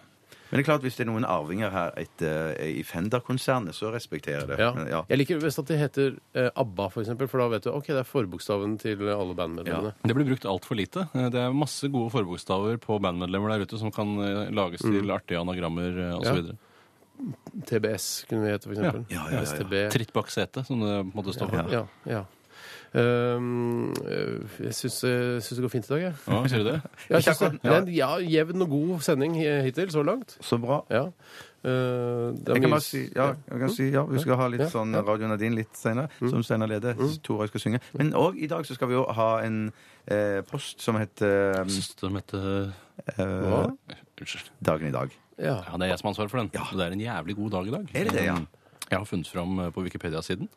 Men det er klart, hvis det er noen arvinger her etter, i Fender-konsernet, så respekterer jeg det. Ja. Men, Jeg liker best at de heter eh, ABBA, for eksempel, for da vet du ok, det er forbokstaven til alle bandmedlemmene. Det blir brukt altfor lite. Eh, Det er masse gode forbokstaver på bandmedlemmer der ute som kan eh, lages til artige anagrammer eh, osv. Ja. TBS kunne vi hete, for eksempel. Ja, ja, ja, ja. STB. Tritt bak setet, som det måtte stå for. Ja, ja. Ehm, øh, jeg syns eh, syns det går fint i dag, jeg. Ja, sier du det? jeg syns det. akkurat- det er en ja, jevn og god sending eh, hittil, så langt. Så bra. Ja. Eh, det er Jeg kan mye- bare si, ja, jeg kan si, ja, vi skal ha litt Mm. Ja, sånn ja. Mm. Radio Nadine litt senere, som Steinar leder. Tora skal synge. Men òg i dag så skal vi jo ha en eh, post som heter eh, Syns du de heter- eh, Unnskyld. Dagen i dag. Ja. Ja, det er jeg som har ansvaret for den. Ja. Og Det er en jævlig god dag i dag. Um, Er det det, ja? Jeg har funnet fram eh, på Wikipedia-siden,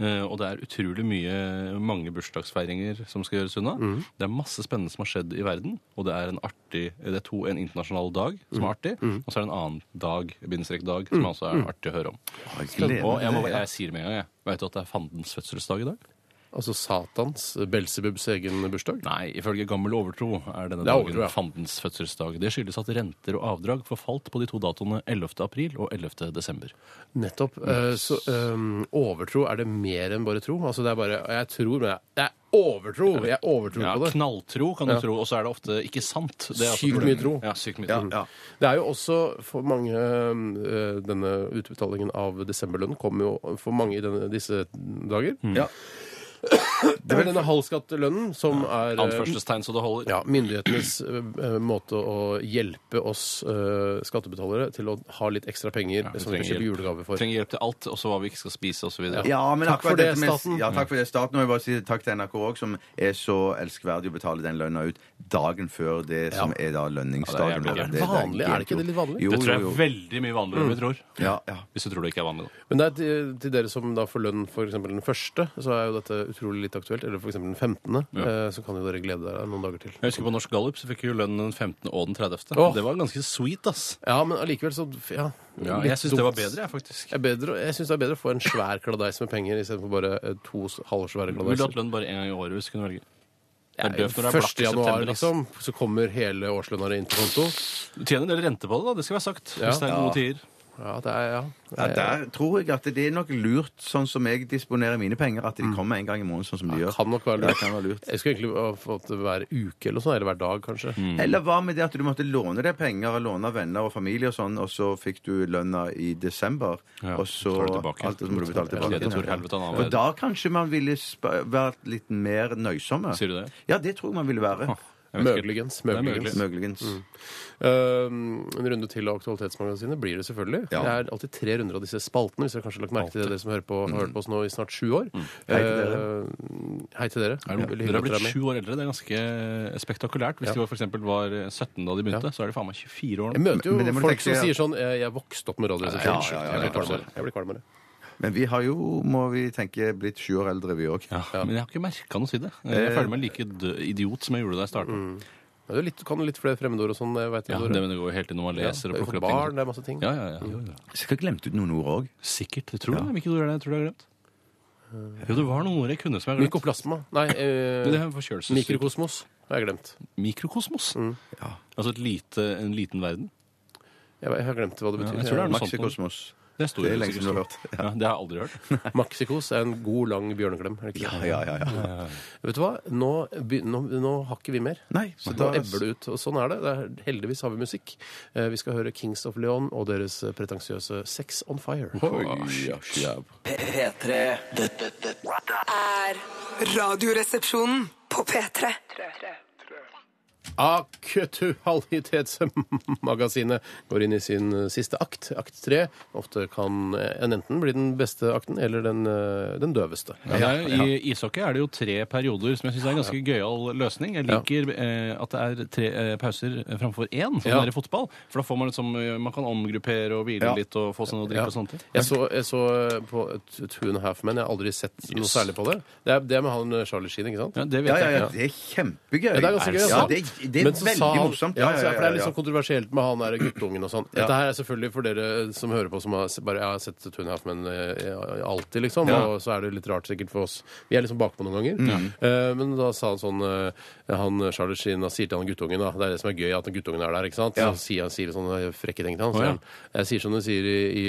eh, og det er utrolig mye, mange bursdagsfeiringer som skal gjøres unna. Det er masse spennende som har skjedd i verden, og det er en artig, det er to, en internasjonal dag som er artig, og så er det en annen dag, bindestrek dag, som altså er artig å høre om. Jeg gleder Og jeg, må, meg. jeg sier det med en gang, jeg. Vet du at det er fandens fødselsdag i dag? Altså Satans, Belsebubs egen bursdag? Nei, ifølge gammel overtro er denne Det er dagen overtro, ja. fandens fødselsdag. Det skyldes at renter og avdrag forfalt på de to datoene 11. april og 11. desember. Nettopp. Eh, så eh, overtro, er det mer enn bare tro? Altså det er bare Jeg tror, men jeg, det er overtro! Jeg overtror Ja, på det. knalltro kan du tro, og så er det ofte ikke sant. Det er også Sykt problemet. mye tro. Ja, sykt mye tro. Ja. Mm. Det er jo også for mange eh, Denne utbetalingen av desemberlønnen kommer jo for mange i denne, disse dager. Ja. Det er denne halvskattelønnen som er eh, Anførselstegn så det holder. ja, myndighetenes eh, måte å hjelpe oss eh, skattebetalere til å ha litt ekstra penger Vi som vi kan kjøpe julegave for. trenger hjelp til alt, også hva vi ikke skal spise, osv. Ja, men Takk for akkurat det, dette med- staten. Ja, takk for det, staten. Og jeg bare sier takk til NRK òg, som er så elskverdig å betale den lønna ut dagen før det som er da lønningsdagen. jævlig vår. gøy. Vanlig, er det ikke det litt vanlig? Jo, Det tror jeg jo, er jo. veldig mye Mm. vanligere enn vi tror. Ja, ja. Hvis du tror det ikke er vanlig, da. Men det er til, til dere som da får lønn for eksempel den første, så er jo dette utrolig litt aktuelt. Eller for eksempel den 15., eh, så kan jo dere glede dere noen dager til. Jeg husker på Norsk Gallup så fikk vi jo lønn den 15. og den 30. Åh. Det var ganske sweet, ass. Ja, men allikevel så Ja. litt jeg syns det var dumt. bedre, jeg, faktisk. Jeg, bedre, jeg syns det er bedre å få en svær kladeis med penger istedenfor bare eh, to s- halvsvære Ville du hatt kladeiser. lønn bare én gang i året hvis du kunne velge? Det er døvt når det 1. er blakk i januar, september. ass. liksom, så kommer hele årslønna di inn på konto. Du tjener en del rente på det, da. Det skal være sagt. Ja. Hvis det er gode tider. Ja, det er, ja. Ja, Eh, der tror jeg at det er nok lurt, sånn som jeg disponerer mine penger, at de Mm. kommer en gang i måneden, sånn som de gjør. Kan nok være Ja, lurt. kan være lurt. Jeg skulle egentlig ha fått det hver uke eller noe sånt, eller hver dag, kanskje. Mm. Eller hva med det at du måtte låne deg penger, låne av venner og familie og sånn, og så fikk du lønna i desember, Ja, og så betaler tilbake. alt det som du betalte tilbake. Kjedelig Tor Helvete, han har Og da kanskje man ville spa- vært litt mer nøysomme. Sier du det? Ja, det tror jeg man ville være. Jeg vet ikke. Møgligens, Det er møgligens. mulig. Mm. Muligens. Eh, en runde til av Aktualitetsmagasinet blir det selvfølgelig. Ja. Det er alltid tre runder av disse spaltene, hvis dere kanskje har lagt merke til det, dere som hører på, Mm. har hørt på oss nå i snart sju år. Hei til dere. Eh, hei til dere. Er det, Veldig hyggelig dere har at dere blitt med. sju år eldre. Det er ganske eh, spektakulært. Hvis de var, for eksempel, var 17 da de begynte, så er de faen meg 24 år Jeg nå. møter jo Men det må du folk tenke, som ja. sier sånn eh, Jeg vokste opp med Radioresepsjonen. Ja, ja, ja, ja, jeg blir ja, ja. kvalmere. Jeg blir kvalmere. Men vi har jo, må vi tenke, blitt sju år eldre, vi òg. Ja, men jeg har ikke merka noe til det. Jeg føler meg like død, idiot som jeg gjorde da jeg starta. Men Du er litt, kan litt flere fremmedord og sånn, jeg vet Ja, jeg, det, Tore. men det går jo helt til når man Ja, leser det er og jo for plukker opp barn, ting. det er masse ting. Ja, ja, ja. Jo, jo. Sikkert glemt ut noen ord òg. Sikkert. Jeg tror det er mye ord jeg tror du har glemt. Jo, det var noen ord jeg kunne som jeg har glemt. Mykoplasma. Nei, eh, Det er en forkjølelse. mikrokosmos har jeg glemt. Mikrokosmos. Altså et lite, en liten verden. Jeg, vet- jeg har glemt hva det Ja, betyr. jeg tror det er noe sånt. Maxikosmos. Det er stor Det er lenge siden du har hørt. Ja, det har jeg aldri hørt. Maxikos er en god, lang bjørneklem. Er det ikke det? Ja, ja, <laughs> ja. Vet du hva? Nå, be- nå, nå har ikke vi mer. Nei, så Nå da ebber det ut. Og sånn er det. det er, heldigvis har vi musikk. Eh, vi skal høre Kings of Leon og deres eh, pretensiøse Sex on Fire. P3. Dette, dette Er Radioresepsjonen på P3. Aktualitetsmagasinet går inn i sin eh, siste akt, akt tre. Ofte kan eh, en enten bli den beste akten eller den, eh, den døveste. Ja, det er jo- I ishockey er det jo tre perioder, som jeg syns er en ganske gøyal løsning. Jeg liker eh, at det er tre eh, pauser eh, framfor én, som Ja. det er i fotball. For da får man liksom eh, Man kan omgruppere og hvile Ja. litt og få seg noe å drikke og sånne ting. Jeg så, jeg så eh, på T- Two and a Half Men. Jeg har aldri sett noe særlig på det. Det er, det er med han eh, Charlie Sheen, ikke sant? Ja, det vet Ja, ja, jeg ja, ikke. det er kjempegøy. Ja, det er ganske gøy. Ja, altså. det, det er Men så sa veldig han- morsomt. Ja, så- for Det er litt sånn kontroversielt med han der guttungen og sånn. Dette her er selvfølgelig for dere som hører på, som har, s- bare, jeg har sett Two and a Half Men eh, alltid, liksom. Ja. Og så er det litt rart sikkert for oss. Vi er liksom bakpå noen ganger. Mm. Eh, men da sa han sånn eh, Han Charlie Sheen da sier til han guttungen, da. Det er det som er gøy, at den guttungen er der, ikke sant. Så sier han sier sånne frekke ting til han. Så Å, sier ja. han, Jeg sier som de sier i, i,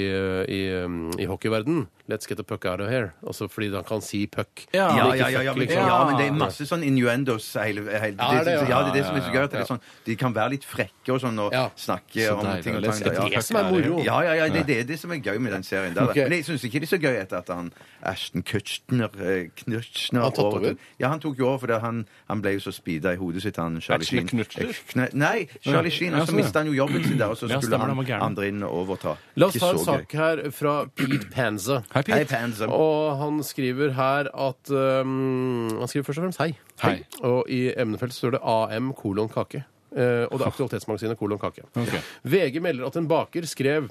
i, um, i hockeyverden Let's get the puck out of here. Altså fordi han kan si puck. Det Ja. Ja, er ikke ja, ja, ja, fuck, men, liksom. ja, men det er masse sånn innuendos hele, hele Ja, det er det, ja. ja, det er det som er så gøy. At det er sånn, de kan være litt frekke og sånn og Ja. snakke om deilig. ting og Let's tang. get Ja, the ja. Det som er moro. Ja, ja, ja, det er det, det som er gøy med den serien. Der, da. Ok. Men jeg syns ikke det er så gøy etter at han Ashton Kutchner eh, Knutschner Han tatt over? overtok. Ja, han tok jo over, for det, han, han ble jo så speeda i hodet sitt, han Charlie Ashton Sheen. Kutcher? Eh, Kne- Nei, Charlie Sheen. Ja, Og så sånn, ja. mista han jo jobben sin der, og så Ja, skulle stemmer, han var han gæren. andre inn og overta. La oss Ikke ta en så sak gøy. her fra Pete Panza. Hei, Hei, Pete. Panzer. Og han skriver her at um, Han skriver først og fremst hei. Hei. Og i emnefeltet står det AM kolon kake. Eh, og det er Aktualitetsmagasinet kolon kake. <laughs> Ok. VG melder at en baker skrev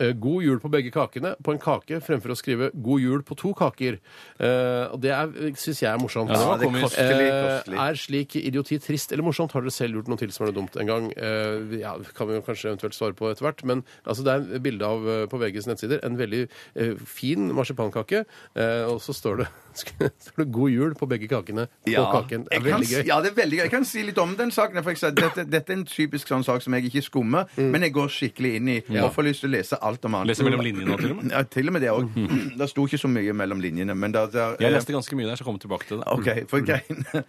eh, God jul på begge kakene på en kake, fremfor å skrive God jul på to kaker. Eh, Og det syns jeg er morsomt. Ja, det var det er komisk. kostelig, Eh, kostelig. er slik idioti trist eller morsomt? Har dere selv gjort noe tilsvarende dumt en gang? Eh, ja, det kan vi jo kanskje eventuelt svare på etter hvert, men altså, det er et bilde av eh, på VGs nettsider en veldig eh, fin marsipankake, eh, og så står det, <laughs> står det 'God jul' på begge kakene. På kaken. Det jeg er kan, veldig gøy. ja, det er veldig gøy. Jeg kan si litt om den saken. For jeg sa, dette, dette er en typisk sånn sak som jeg ikke skummer, Mm. men jeg går skikkelig inn i og får lyst til å lese alt om alt. Leser mellom linjene til og med. Mm. Ja, til og med det òg. Det sto ikke så mye mellom linjene, men da da- Jeg leste Mm. ganske mye der, så jeg kommer tilbake til det. OK, for greiene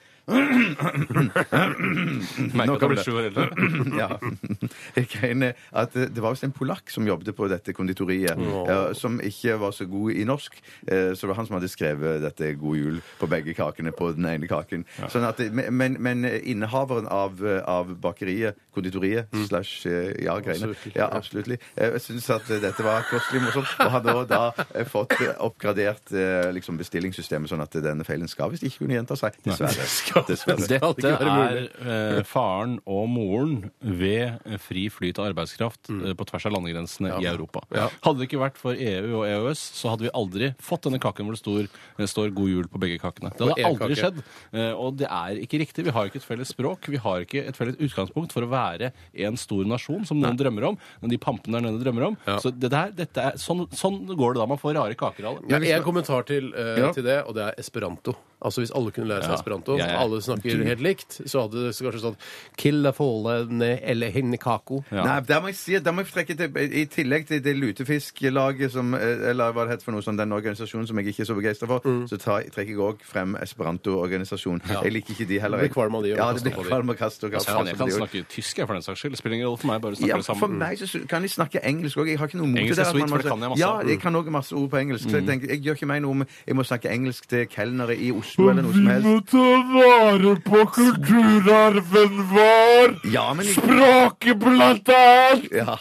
Merker nå at jeg kommer blir det. sju år eldre. <laughs> ja. Greiene at eh, Det var visst en polakk som jobbet på dette konditoriet, eh, som ikke var så god i norsk. eh, Så det var han som hadde skrevet dette 'God jul' på begge kakene på den ene kaken. Sånn at, det- men, men innehaveren av, eh, av bakeriet, konditoriet slash eh, ja, greiene Absolutt. Ja, absolutt. Jeg syns at eh, dette var kostelig morsomt, og hadde også da eh, fått eh, oppgradert eh, liksom bestillingssystemet, sånn at denne feilen skal visst ikke kunne gjenta seg. Dessverre. Dessverre. Dette ikke være er eh, faren og moren ved eh, fri flyt av arbeidskraft eh, på tvers av landegrensene i Europa. Mm. Ja. Hadde det ikke vært for EU og EØS, så hadde vi aldri fått denne kaken hvor det står, eh, står 'God jul' på begge kakene. Det På hadde en aldri kake. skjedd. Eh, og det er ikke riktig. Vi har ikke et felles språk. Vi har ikke et felles utgangspunkt for å være en stor nasjon, som noen drømmer om. Men de pampene der nede drømmer om. Så det der, dette er, sånn, sånn går det da man får rare kaker av det. Jeg har en kommentar til, eh, Ja. til det, og det er esperanto. Altså Hvis alle kunne lære seg Ja. esperanto, Ja, ja. alle snakker helt likt, så hadde det kanskje sånn Killa folene eh, eller hinne kako. Ja. Nei, der må jeg si, der må jeg trekke til, I tillegg til det lutefisklaget som eh, Eller hva det heter for noe sånn, den organisasjonen som jeg ikke er så begeistra for, Mm. så tar, trekker jeg òg frem Esperanto-organisasjonen. Jeg liker ikke de heller. Du blir kvalm av de, og Ja, kaster det blir på de. kvalm og kast og kast. Altså, Faen, jeg altså. på kan de også. snakke tysk, jeg, for den saks skyld. Det Spiller ingen rolle for meg, bare snakker Ja, det sammen. for meg så sy- kan de snakke engelsk òg. Jeg har ikke noe mot Engelsk det. er der at sweet, man må for det si- kan jeg masse Mm. ja, av. jeg kan også masse ord på engelsk. Så jeg tenker, jeg gjør ikke meg noe om jeg må snakke engelsk til kelnere i Oslo eller noe som helst. ta vare på kulturarven vår! Ja, men Språket, blant annet! ja.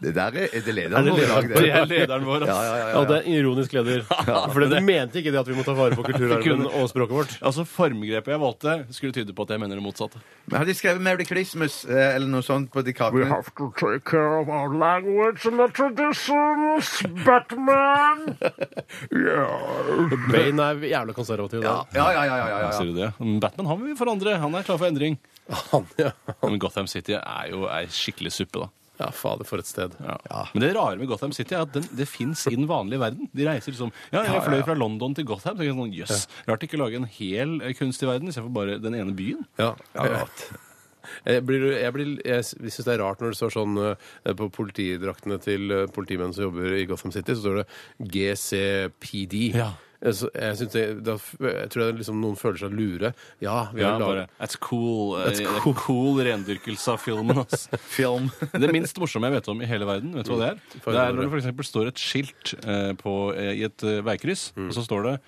Det der er, er det lederen vår i dag, Det det. er lederen vår, Ja, ass. ja, ja, Ja, ja. det er en ironisk <laughs> leder. For du mente ikke <laughs> det at vi må ta vare på kulturarven og språket vårt. Altså Formgrepet jeg valgte, skulle tyde på at jeg mener det motsatte. Men Hadde de skrevet 'Merry Christmas' eh, eller noe sånt på de We kakene? have to take care of our language and our traditions, <laughs> Batman! Bane er jævla konservativ. Ja, da. ja, ja. ja, ja, ja. Sier du det? Men Batman han vil vi forandre. Han er klar for endring. Han, ja. Men Gotham City er jo ei skikkelig suppe, da. ja, fader, for et sted. Ja. Men det rare med Gotham City er at den, det fins i den vanlige verden. De reiser liksom Ja, jeg fløy fra London til Gotham. Så tenker jeg sånn, Jøss. Rart ikke å lage en hel eh, kunstig verden istedenfor bare den ene byen. Ja. <laughs> Jeg, blir, jeg, blir, jeg syns det er rart når det står sånn eh, på politidraktene til eh, politimenn som jobber i Gotham City, så står det GCPD. Ja. Jeg, sy- Eh, jeg, synes det, da, f- jeg tror det er liksom noen føler seg lure. Ja, vi Ja, har bare, laget That's cool. eh, That's det er cool. rendyrkelse av filmen, ass. <laughs> Film. <laughs> Mm. Det minst morsomme jeg vet om i hele verden, vet du hva Mm. det er? Det er når det f.eks. står et skilt eh, på, eh, i et eh, veikryss, og så står det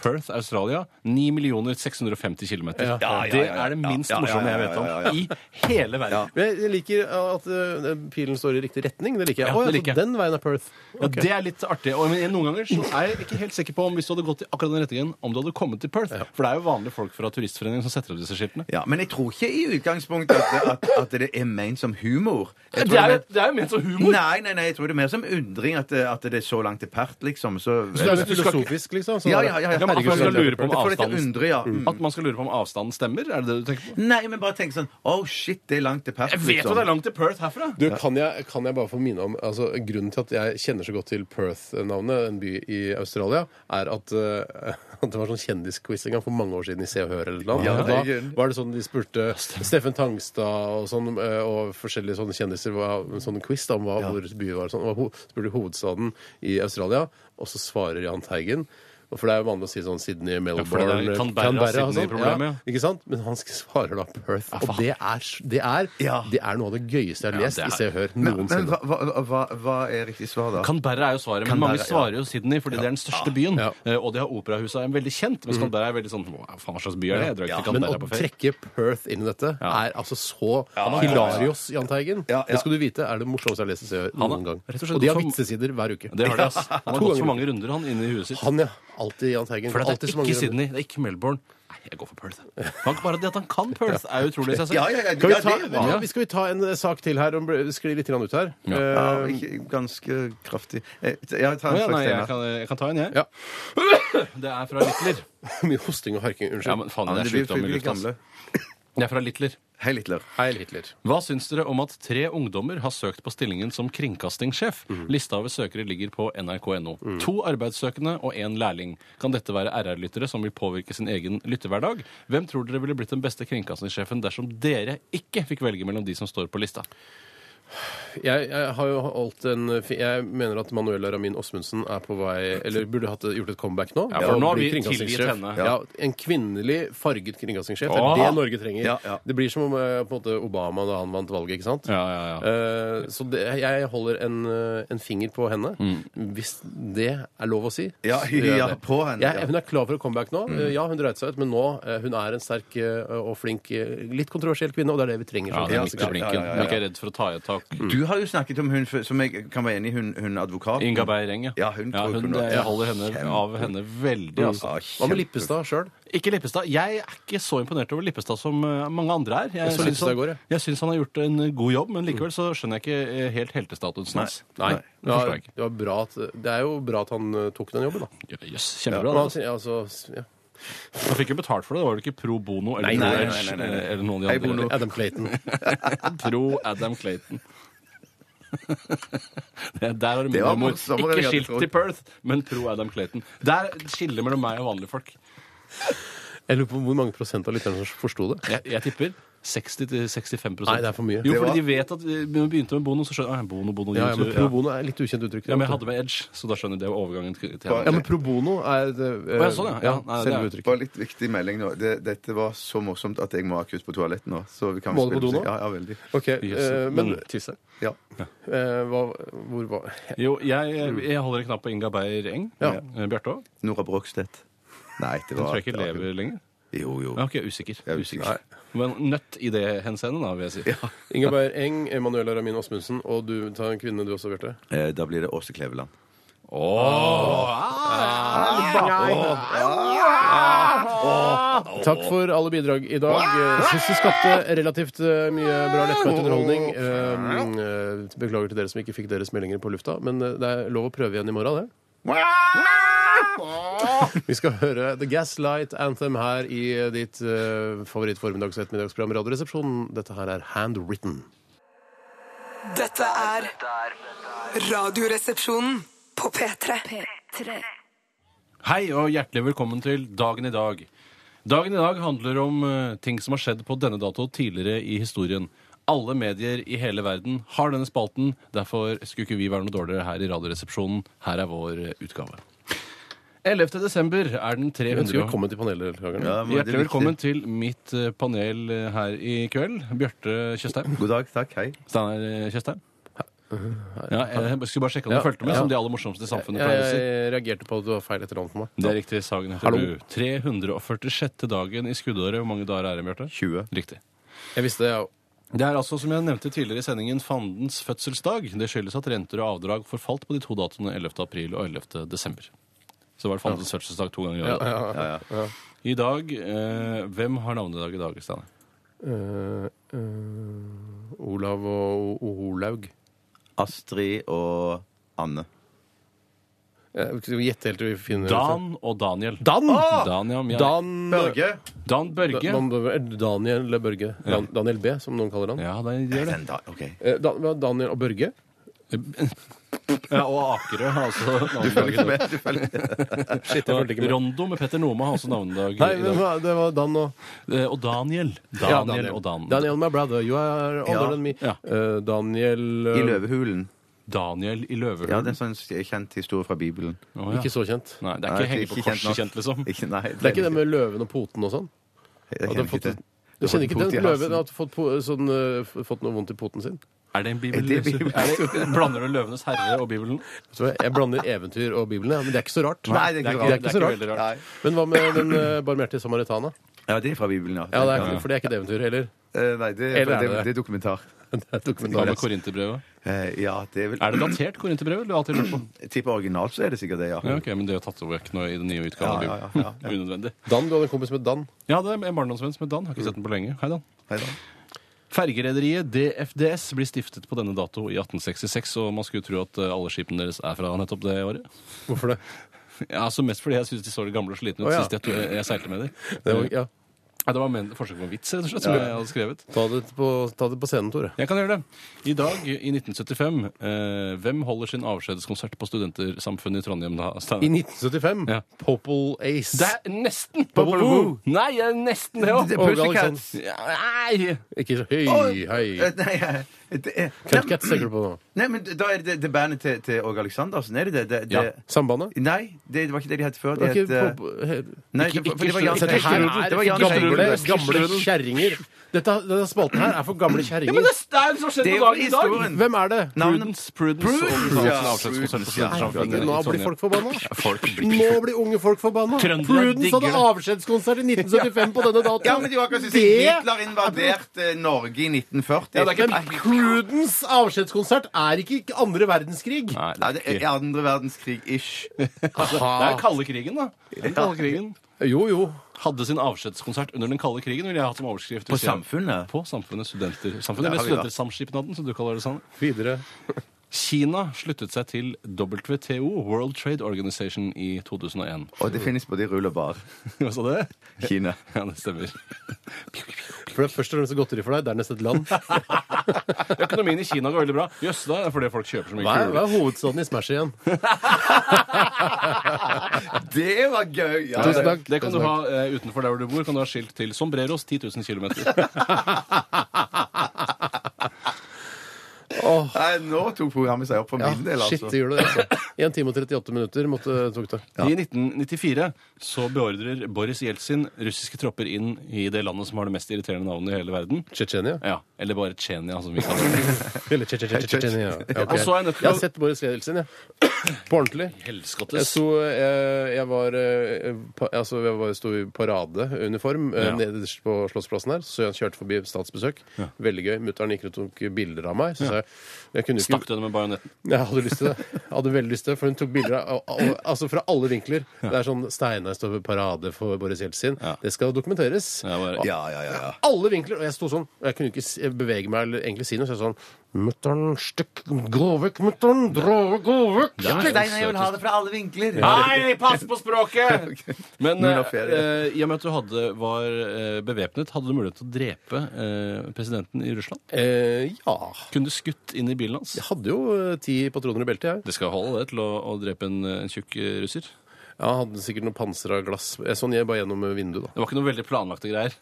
Perth, Australia. 9 650 km. Ja. Ja, ja, Det ja, ja. er det minst Ja, ja, ja, morsomme jeg ja, vet om ja, ja, ja. i hele verden. Men Jeg liker at eh, pilen står i riktig retning. Det liker jeg. Ja, Å, ja, det liker så jeg. den veien er Perth. Ja, det er litt artig. Og, men noen ganger så er jeg ikke helt sikker på om hvis du hadde gått i akkurat den retningen, om du hadde kommet til Perth. For det er jo vanlige folk fra Turistforeningen som setter opp disse skiltene. Ja, men jeg tror ikke i utgangspunktet at, at, at det er ment som humor. Jeg tror Det er, er det er jo ment som ment- humor! Nei, nei, nei, jeg tror det er mer som undring at, det- at det er så langt til Perth, liksom. Så, Så det er litt filosofisk, liksom. Så ja, det er- ja, ja, ja. Ja, men at man skal lure på om For dette avstanden- undrer, ja. Mm. At man skal lure på om avstanden stemmer? Er det det du tenker på? Nei, men bare tenk sånn Oh shit, det er langt til Perth. Jeg vet jo liksom. det er langt til Perth herfra! Du, kan jeg, kan jeg bare få minne om altså, Grunnen til at jeg kjenner så godt til Perth-navnet, en by i Australia, er at, eh, <laughs> at det var sånn kjendisquiz en gang for mange år siden i Se og Hør eller noe. Ja, og det da er grunnen. var det sånn de spurte Steffen Tangstad og sånn, eh, og forskjellige sånne kjendiser hva- en sånn quiz da, om hva, hvor byen var og sånn. Og ho spurte hovedstaden i Australia, og så svarer Jahn Teigen. og For det er jo vanlig å si sånn Sydney, for det er Melbourne, Canberra, og sånn. Sydney-problemet, Ja, ja. ikke sant? Men han svarer da Perth. og det er, det, er, det er noe av det gøyeste jeg har lest det er- i Se og Hør Men, men noensinne. hva, hva, hva, hva er riktig svar, da? Canberra er jo svaret, men mange Canberra, ja. svarer jo Sydney, fordi det er den største byen. Ja. eh, Og de har operahuset, er veldig kjent, mens Canberra er veldig sånn Hva faen hva slags by er det? Jeg drar ikke til Men Canberra å på ferie. trekke Perth inn i dette Ja. er altså så ja, ja. hilarios, Jahn Teigen. Ja, ja. Det skal du vite er det morsomste jeg har lest i Se og Hør Han har noen gang. rett og slett Og de har også- vitsesider hver uke. Det har de, ass. Han To har gått ganger. for mange runder, han, inne i huet sitt. Han, ja. Alltid Jahn Teigen. For det Alltid er så mange ikke runder. Sydney, det er ikke Melbourne. Nei, jeg går for Perth. Han, bare det at han kan Perth, er jo utrolig i seg selv. Ja, ja, ja, Skal vi, ja, ta, det- ja, vi skal vi ta en eh, sak til her? om- Sklir litt grann ut her. Eh, Ja, ikke- ganske kraftig. Eh, Jeg tar Å en ja, slags nei, jeg tema. kan, jeg kan ta en, jeg. Ja. <laughs> Det er fra Littler. Mye hosting og harking. Unnskyld. Ja, men faen, Ja, det men er det blir sjukdom i fryktelig lufta. ass. gamle. Det er fra Littler. Hei, Littler. Heil Hitler. Hva syns dere om at tre ungdommer har søkt på stillingen som kringkastingssjef? Mm. Lista over søkere ligger på nrk.no. To arbeidssøkende og én lærling. Kan dette være RR-lyttere som vil påvirke sin egen lytterhverdag? Hvem tror dere ville blitt den beste kringkastingssjefen dersom dere ikke fikk velge mellom de som står på lista? Jeg, jeg har jo holdt en fi- Jeg mener at Manuela Ramin Osmundsen er på vei Eller burde hatt, gjort et comeback nå. Ja, for og nå har bli vi kringkastingssjef. tilgitt henne. Ja. en kvinnelig farget kringkastingssjef. Åh! Det er det Norge trenger. Ja, ja. Det blir som om eh, på en måte Obama da han vant valget, ikke sant? Ja, ja, ja. Eh, så det, jeg holder en, eh, en finger på henne, Mm. hvis det er lov å si. Ja, så gjør jeg ja, det. på henne, Jeg, ja. hun er klar for et comeback nå. Mm. Eh, Ja, hun dreit seg ut, men nå eh, hun er en sterk eh, og flink, eh, litt kontroversiell kvinne, og det er det vi trenger. Ja, som det er kringkastingsjef. Mikkel Blinken. ja, ja, Mm. ja. Men ikke er redd for å ta i et tak. Du har jo snakket om hun f- som jeg kan være enig i, hun, hun advokaten. Inga Beireng, Ja, hun tror hun, hun var- jeg holder henne, av henne veldig, altså. Ja, Hva med kjempe- Lippestad sjøl? Ikke Lippestad. Jeg er ikke så imponert over Lippestad som eh, mange andre er. Jeg så synes Lippestad han, i går, jeg. jeg synes han har gjort en god jobb, men likevel så skjønner jeg ikke eh, helt heltestatusen hans. Nei. Det Ja, forstår jeg ikke. det, var bra at, det er jo bra at han eh, tok den jobben, da. Ja, Jøss, Men kjempebra. han det. sier, altså, s- ja. Han fikk jo betalt for det. Det var vel ikke pro bono eller, Nei, nei, pro nei, Edge, nei, nei, nei. eh, eller noen av Hei, de andre. Bono. Adam Clayton. <laughs> Pro Adam Clayton. <laughs> Det- Der har du Det min var humor. morsommere enn Ikke jeg hadde skilt trodd. til Perth, men pro Adam Clayton. Der skiller mellom meg og vanlige folk. Jeg lurer på hvor mange prosent av lytterne som forsto det. Jeg, jeg tipper 60-65 Nei, det er for mye. Jo, Det fordi var- de vet at eh, når vi begynte med Bono, så skjønner jeg Bono, Bono, Ja, ja, men YouTube, pro bono er et litt ukjent uttrykk. Ja, men jeg hadde med Edge, så da skjønner jeg det var overgangen til til Ja, henne. men pro bono er det, eh, Å, ja, sånn, ja. Ja, nei, det selve er- Bare uttrykket. litt viktig melding nå. Det, dette var så morsomt at jeg må akutt på toalettet nå. Så vi kan Må du på spille do nå? musikk. Ja, ja, veldig. Ok, eh, Jøss, men men tisse. Ja. eh, hva, hvor var Jo, jeg, jeg holder en knapp på Inga Beyer Eng. Ja. Eh, Bjarte òg. Nora Brogstedt. Nei, det Hun var tror jeg ikke lever lenger. Jo, jo. Ja, ok, usikker. Jeg er usikker. usikker. Men nødt i det henseende, da, vil jeg si. Ingeberg Eng, Emanuela Ramin Osmundsen, og du tar en kvinne, du også, Bjarte. Eh, Da blir det Åse Kleveland. Takk for alle bidrag i dag. Jeg syns vi skapte relativt eh, mye bra lettbeint underholdning. Um, eh, Beklager til dere som ikke fikk deres meldinger på lufta, men eh, det er lov å prøve igjen i morgen, det. Vi skal høre The Gaslight Anthem her i ditt eh, favorittformiddags- og ettermiddagsprogram Radioresepsjonen. Dette her er Handwritten. Dette er Radioresepsjonen på P3. P3. Hei og hjertelig velkommen til Dagen i dag. Dagen i dag handler om eh, ting som har skjedd på denne dato tidligere i historien. Alle medier i hele verden har denne spalten, derfor skulle ikke vi være noe dårligere her i Radioresepsjonen. Her er vår eh, utgave. 11. desember er den 300... Ønsker velkommen til paneldeltakerne. Ja, men det er Hjertelig velkommen viktig. til mitt eh, panel eh, her i kveld. Bjarte Tjøstheim. God dag. Takk. Hei. Steinar eh, Tjøstheim. Ja, jeg jeg skulle bare sjekke om du Ja, fulgte med, ja. som de aller morsomste i samfunnet Jeg, pleier å si. jeg reagerte på at det var feil etter navn for meg. Det er riktig. Sagen heter Hallo. Bru. 346. dagen i skuddåret. Hvor mange dager er det, Bjarte? 20. Riktig. Jeg visste det, ja. Det er altså, som jeg nevnte tidligere i sendingen, fandens fødselsdag. Det skyldes at renter og avdrag forfalt på de to datoene 11. april og 11. desember. Så var det fandens fødselsdag to ganger i året. da. Ja, ja. I dag eh, Hvem har navnedag i dag, Steinar? Eh, eh, Olav og, og Olaug. Astrid og Anne. Jeg skal vi gjette helt til vi finner Dan og Daniel. Ah! Dan! Dan, ja, men jeg- Dan, Børge. Dan Børge. Dan, eh, Daniel eller Børge. Dan, Daniel B, som noen kaller han. Ja, det gjør det. Den da, ok. Eh, Dan, hva, Daniel og Børge? Ja, og Akerø har altså <laughs> Følg ikke navnedag. med, du følger ikke med. <laughs> Shit, jeg fulgte ikke med. Rondo med Petter Nome har også navnedag. Nei, i men, dag. hva- det var Dan og Eh, Og Daniel. Daniel, Ja, og Dan. Daniel, my brother, you are older Ja. than me. Ja. Eh, Daniel Øh. eh, I løvehulen. Daniel i Løvehulen. Ja, det er en sånn kjent historie fra Bibelen. Å, ja. Ikke så kjent. Nei, det er Nei, ikke henge på kjent nok. korset kjent, liksom. Ikke, nei, Det er ikke det med løven og poten og sånn? Jeg At kjenner den fått- ikke til. Du kjenner ikke fått til at en pot i løven har fått, po- sånn, eh, f- fått noe vondt i poten sin? Er det en Er <laughs> det bibel? bibel? <laughs> Er det- Blander du Løvenes herre og Bibelen? Vet du hva, Jeg blander eventyr og Bibelen, ja, men det er ikke så rart. Nei, det er ikke så rart. veldig rart. Men hva med den eh, barmhjertige samaritana? Ja, det er fra Bibelen, ja. Ja, det er, For det er ikke et eventyr heller. <laughs> Eh, Nei, det er, Eller er det, det det? det er dokumentar. Det er Hva med dokumentar. Korinterbrevet? Eh, Ja, det er vel Er det datert Korinterbrevet? eller har du alltid lurt på? Jeg tipper originalt så er det sikkert det, ja. Ja, ok, Men det er jo tatt over nå i den nye utgaven. av Ja, Bibelen. ja, ja, ja, <laughs> ja. Unødvendig. Dan, du hadde en kompis med Dan. Ja, det er en barndomsvenn som het Dan. Har ikke sett den på lenge. Hei, Dan. Hei da. Fergerederiet DFDS blir stiftet på denne dato i 1866, og man skulle tro at eh, alle skipene deres er fra nettopp det året. Hvorfor det? Ja, altså Mest fordi jeg syntes de så gamle og slitne ut Å, ja. sist jeg, to- jeg seilte med dem. Det var, ja. Ja, det var men, forsøk på en vits, rett og slett, som jeg hadde skrevet. ta, det på, ta det på scenen, Tore. Jeg kan gjøre det. I dag, i 1975, eh, hvem holder sin avskjedskonsert på Studentersamfunnet i Trondheim da? I Steinar? 1975. Ja. Popple Ace. Det er nesten! Popol Vuh. Nei, jeg er nesten det Det òg! er Åge Pussycats. Aleksandersen. Ja, nei! Ikke så høy, høy. Eh, Nei, eh, det er- Cutcats tenker du på nå? Nei, men da er det det bandet til, til Åge Aleksandersen, er det det? det, det Ja. Sambandet? Nei, det, det var ikke det de het før. Det De var het ikke eh, Pop- he- Ikke- Nei, det var- ikke det var Jan Sludder. Dette her Nei, det var er Jan for gamle, Stein. gamle kjerringer. Dette, denne spalten her er for gamle Ja, men kjerringer. det er jo som Det skjedde på er jo dagen i dag! historien. Hvem er det? Prudence. Prudence. Prudence, og ja. sin avskjedskonsert på Prudence, ja. Studentersamfunnet. Nå sånn, blir folk forbanna. Folk blir Nå blir unge folk forbanna. Trøndere Prudence hadde digger det. avskjedskonsert i 1975 på denne datoen. Ja, men det var akkurat som si Det- Hitler invaderte eh, Norge i 1940. Ja, det er ikke- Nei, Men Prudence avskjedskonsert er ikke ikke andre verdenskrig. Nei, Nei, det det er andre verdenskrig-ish. er den kalde krigen, da. Den kalde krigen. Jo, jo. hadde sin avskjedskonsert under den kalde krigen, ville jeg hatt som overskrift. På hvis jeg- Samfunnet? På Samfunnet Studentersamfunnet. Eller Det har vi da. Studentersamskipnaden, som du kaller det. Sånn. Videre. Kina sluttet seg til WTO, World Trade Organization, i <laughs> 2001. Og det finnes både i rull og bar. Hva sa det? <laughs> Kina. Ja, det stemmer. For det er først og fremst godteri for deg, dernest et land. Økonomien i Kina går veldig bra. Jøss, det er fordi folk kjøper så mye Hva er, hva kuler. er hovedstaden i Smash igjen? Det var gøy! Ja, Tusen takk. <laughs> Det kan du Tusen ha eh, utenfor der hvor du bor. Kan du ha skilt til Sombreros 10 000 km. <laughs> <laughs> Nei, nå tok programmet seg opp for Ja, min del, shit, altså. det gjør det. Altså. 1 time og 38 minutter måtte, tok det. I 1994 så beordrer Boris Jeltsin russiske tropper inn i det landet som har det mest irriterende navnet i hele verden. <laughs> Tsjetsjenia? Ja, Eller bare Tsjetsjenia, som vi kaller det. <laughs> Eller Tsjetsjenia. Ja, ok. Og så er jeg nødt til Jeg å- har sett Boris Ledelsen, jeg. På ordentlig. Jeg, Helskottes. sto, jeg, jeg var, eh, pa, altså, jeg var, sto i paradeuniform eh, Ja. nederst på Slottsplassen her. Så jeg kjørte forbi statsbesøk. Veldig gøy. Mutter'n gikk rundt og tok bilder av meg. Så sa jeg, jeg kunne jo ikke Stakk du henne med bajonetten? Jeg hadde lyst til det. Jeg hadde veldig lyst til det, For hun tok bilder av, av, av, altså fra alle vinkler. Det er sånn Steinar står ved parade for Boris Jeltsin. Ja. Det skal dokumenteres. Ja, bare- Ja, ja, ja, ja. Alle vinkler. Og jeg sto sånn. og Jeg kunne ikke s- bevege meg eller egentlig si noe. Så jeg sånn Mutter'n, stykk, gå vekk, mutter'n, dra vekk, gå vekk. Steinar, jeg vil ha det fra alle vinkler. Nei, pass på <laughs> språket! Men Nå er eh, det ferie. eh, i og med at du hadde, var eh, bevæpnet, hadde du mulighet til å drepe eh, presidenten i Russland? Eh, ja. Kunne du skutt inn i bilen hans? Jeg hadde jo eh, ti patroner i beltet, jeg. Det skal holde det til å, å drepe en, eh, en tjukk eh, russer. Jeg hadde sikkert noe panser av glass. Jeg så ned bare gjennom eh, vinduet, da. Det var ikke noe veldig planlagte greier.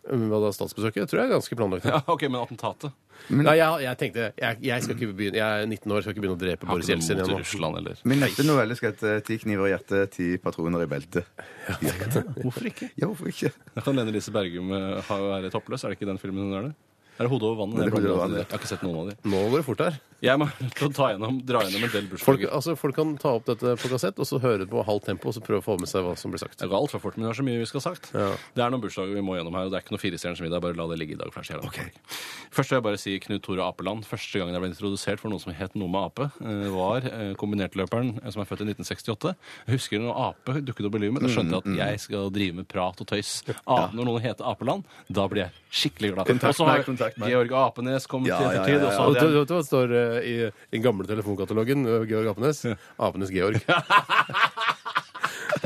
<laughs> Hva da, statsbesøket? Jeg tror jeg er ganske planlagt. Ja, ok, Men attentatet? Nei, jeg, jeg tenkte jeg, jeg, skal ikke begynne, jeg er 19 år, skal ikke begynne å drepe Har Boris ikke noe Jeltsin mot igjen nå. Russland heller. Min neste novelle skal hete eh, 'Ti kniver i hjertet, ti patroner i beltet'. Hvorfor ikke? <laughs> Ja, hvorfor ikke? Da kan Lene Lise Bergum eh, ha- være toppløs. Er det ikke den filmen hun er det? Det er hodet over vannet. Det er jeg hodet over blander alltid det. vannet. Jeg har ikke sett noen av de. Nå går det fort her. Jeg må <laughs> ta gjennom, dra gjennom en del Folk, bursdager. altså, folk kan ta opp dette på kassett og så høre på halvt tempo og så prøve å få med seg hva som blir sagt. Det går altfor fort, men det er så mye vi skal ha sagt. Ja. Det er noen bursdager vi må gjennom her, og det er ikke noe firestjerners middag. Bare la det ligge i dag. for det er så jævla mange folk. Først vil jeg bare si Knut Tore Apeland. Første gangen jeg ble introdusert for noen som het noe med ape, eh, var eh, kombinertløperen eh, som er født i 1968. Jeg husker når ape dukket opp i livet mitt, Mm, da skjønte jeg at jeg skal drive med prat og tøys. Ah, Når noen heter Apeland, da blir jeg skikkelig glad. Kontakt Og så har meg, kontakt meg. Georg Apenes kommet Ja, til ja, ja, ettertid. ja, og så Og ja. hadde du, jeg- du vet hva det står eh, i den gamle telefonkatalogen? eh, Georg Apenes. Apenes <laughs> Georg.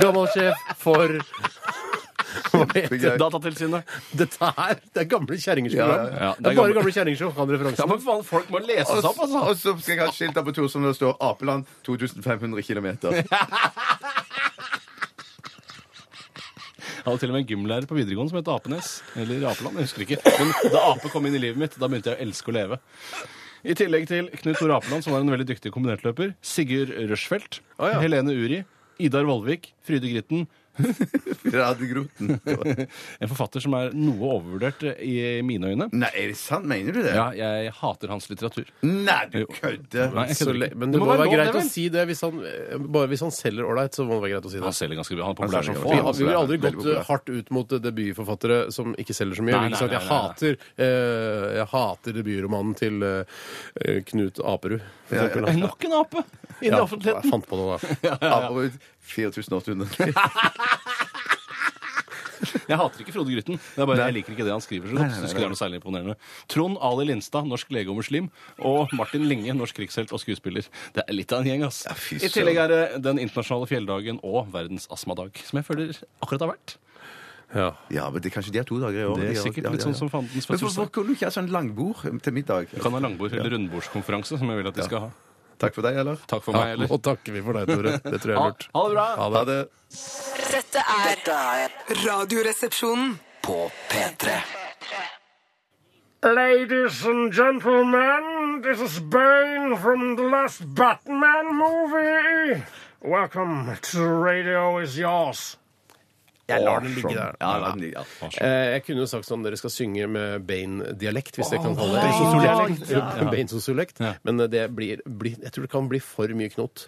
Gammel sjef <laughs> for Hva heter det? Datatilsynet. Dette her, det er gamle kjerringers program. Ja, ja, ja. Det er bare gamle kjerringer som kan Ja, referansen. men faen, folk må lese Og seg opp, altså! og så skal jeg ha et skilt der på Tor som det står 'Apeland 2500 km'. <laughs> Jeg hadde til og med en gymlærer på videregående som het Apenes. Eller Apeland, jeg husker ikke. Men da ape kom inn i livet mitt, da begynte jeg å elske å leve. I tillegg til Knut Tore Apeland, som var en veldig dyktig kombinertløper, Sigurd Rushfeldt, ja. Helene Uri, Idar Vollvik, Fryde Gritten, Radiogroten. en forfatter som er noe overvurdert eh, i mine øyne. Nei, er det sant? Mener du det? Ja, jeg hater hans litteratur. Nei, du Jo. kødder! Nei, jeg Så kødder le- ikke. Men det må være være lov, greit det, å vel? si det hvis han, eh, bare hvis han selger ålreit, så må det være greit å si Han det. selger ganske bra. Han er populær som Vi, selger ganske faen. bra. vi ville aldri Veldig gått eh, populær. hardt ut mot eh, debutforfattere som ikke selger så mye. Ikke Nei, nei, sant? Jeg nei, nei, hater, eh, jeg hater debutromanen til eh, eh, Knut Aperud. for eksempel. Eh, Nok en ape i den Ja, jeg offentligheten! fant på noe, <laughs> da. Aperud 4800. Jeg hater ikke Frode Grytten. Det er bare, jeg liker ikke det han skriver. så godt. Så skulle det være noe særlig imponerende. Trond Ali Lindstad, norsk lege og muslim. Og Martin Linge, norsk krigshelt og skuespiller. Det er litt av en gjeng, ass. fy I tillegg er det den internasjonale fjelldagen og verdens astmadag, som jeg føler akkurat har vært. Ja. Ja, men det, kanskje de har to dager i år. Det er de har- sikkert ja, litt ja, ja. sånn som fandens Men hvorfor fødselsdag. kunne du ikke ha sånn langbord til middag? Du kan ha langbord- eller rundbordskonferanse, som jeg vil at de skal ha. Takk for deg, eller? Takk for Ja, meg, eller? og takker vi for deg, Tore. Det tror jeg Ha, er lurt. ha det bra! Ha Ha det. det. Dette er Dette er Radioresepsjonen. på P3. Ladies and gentlemen, this is Bane from the last Batman movie. Welcome to Radio is Yours. Jeg lar den ligge der. Ja, la den ligge. Ja. Eh, Jeg kunne jo sagt sånn dere skal synge med Bane-dialekt, hvis jeg kan kalle det Bane-sosiolekt. Ja. Bane-sosiolekt. Ja. Men eh, det blir, blir Jeg tror det kan bli for mye knot.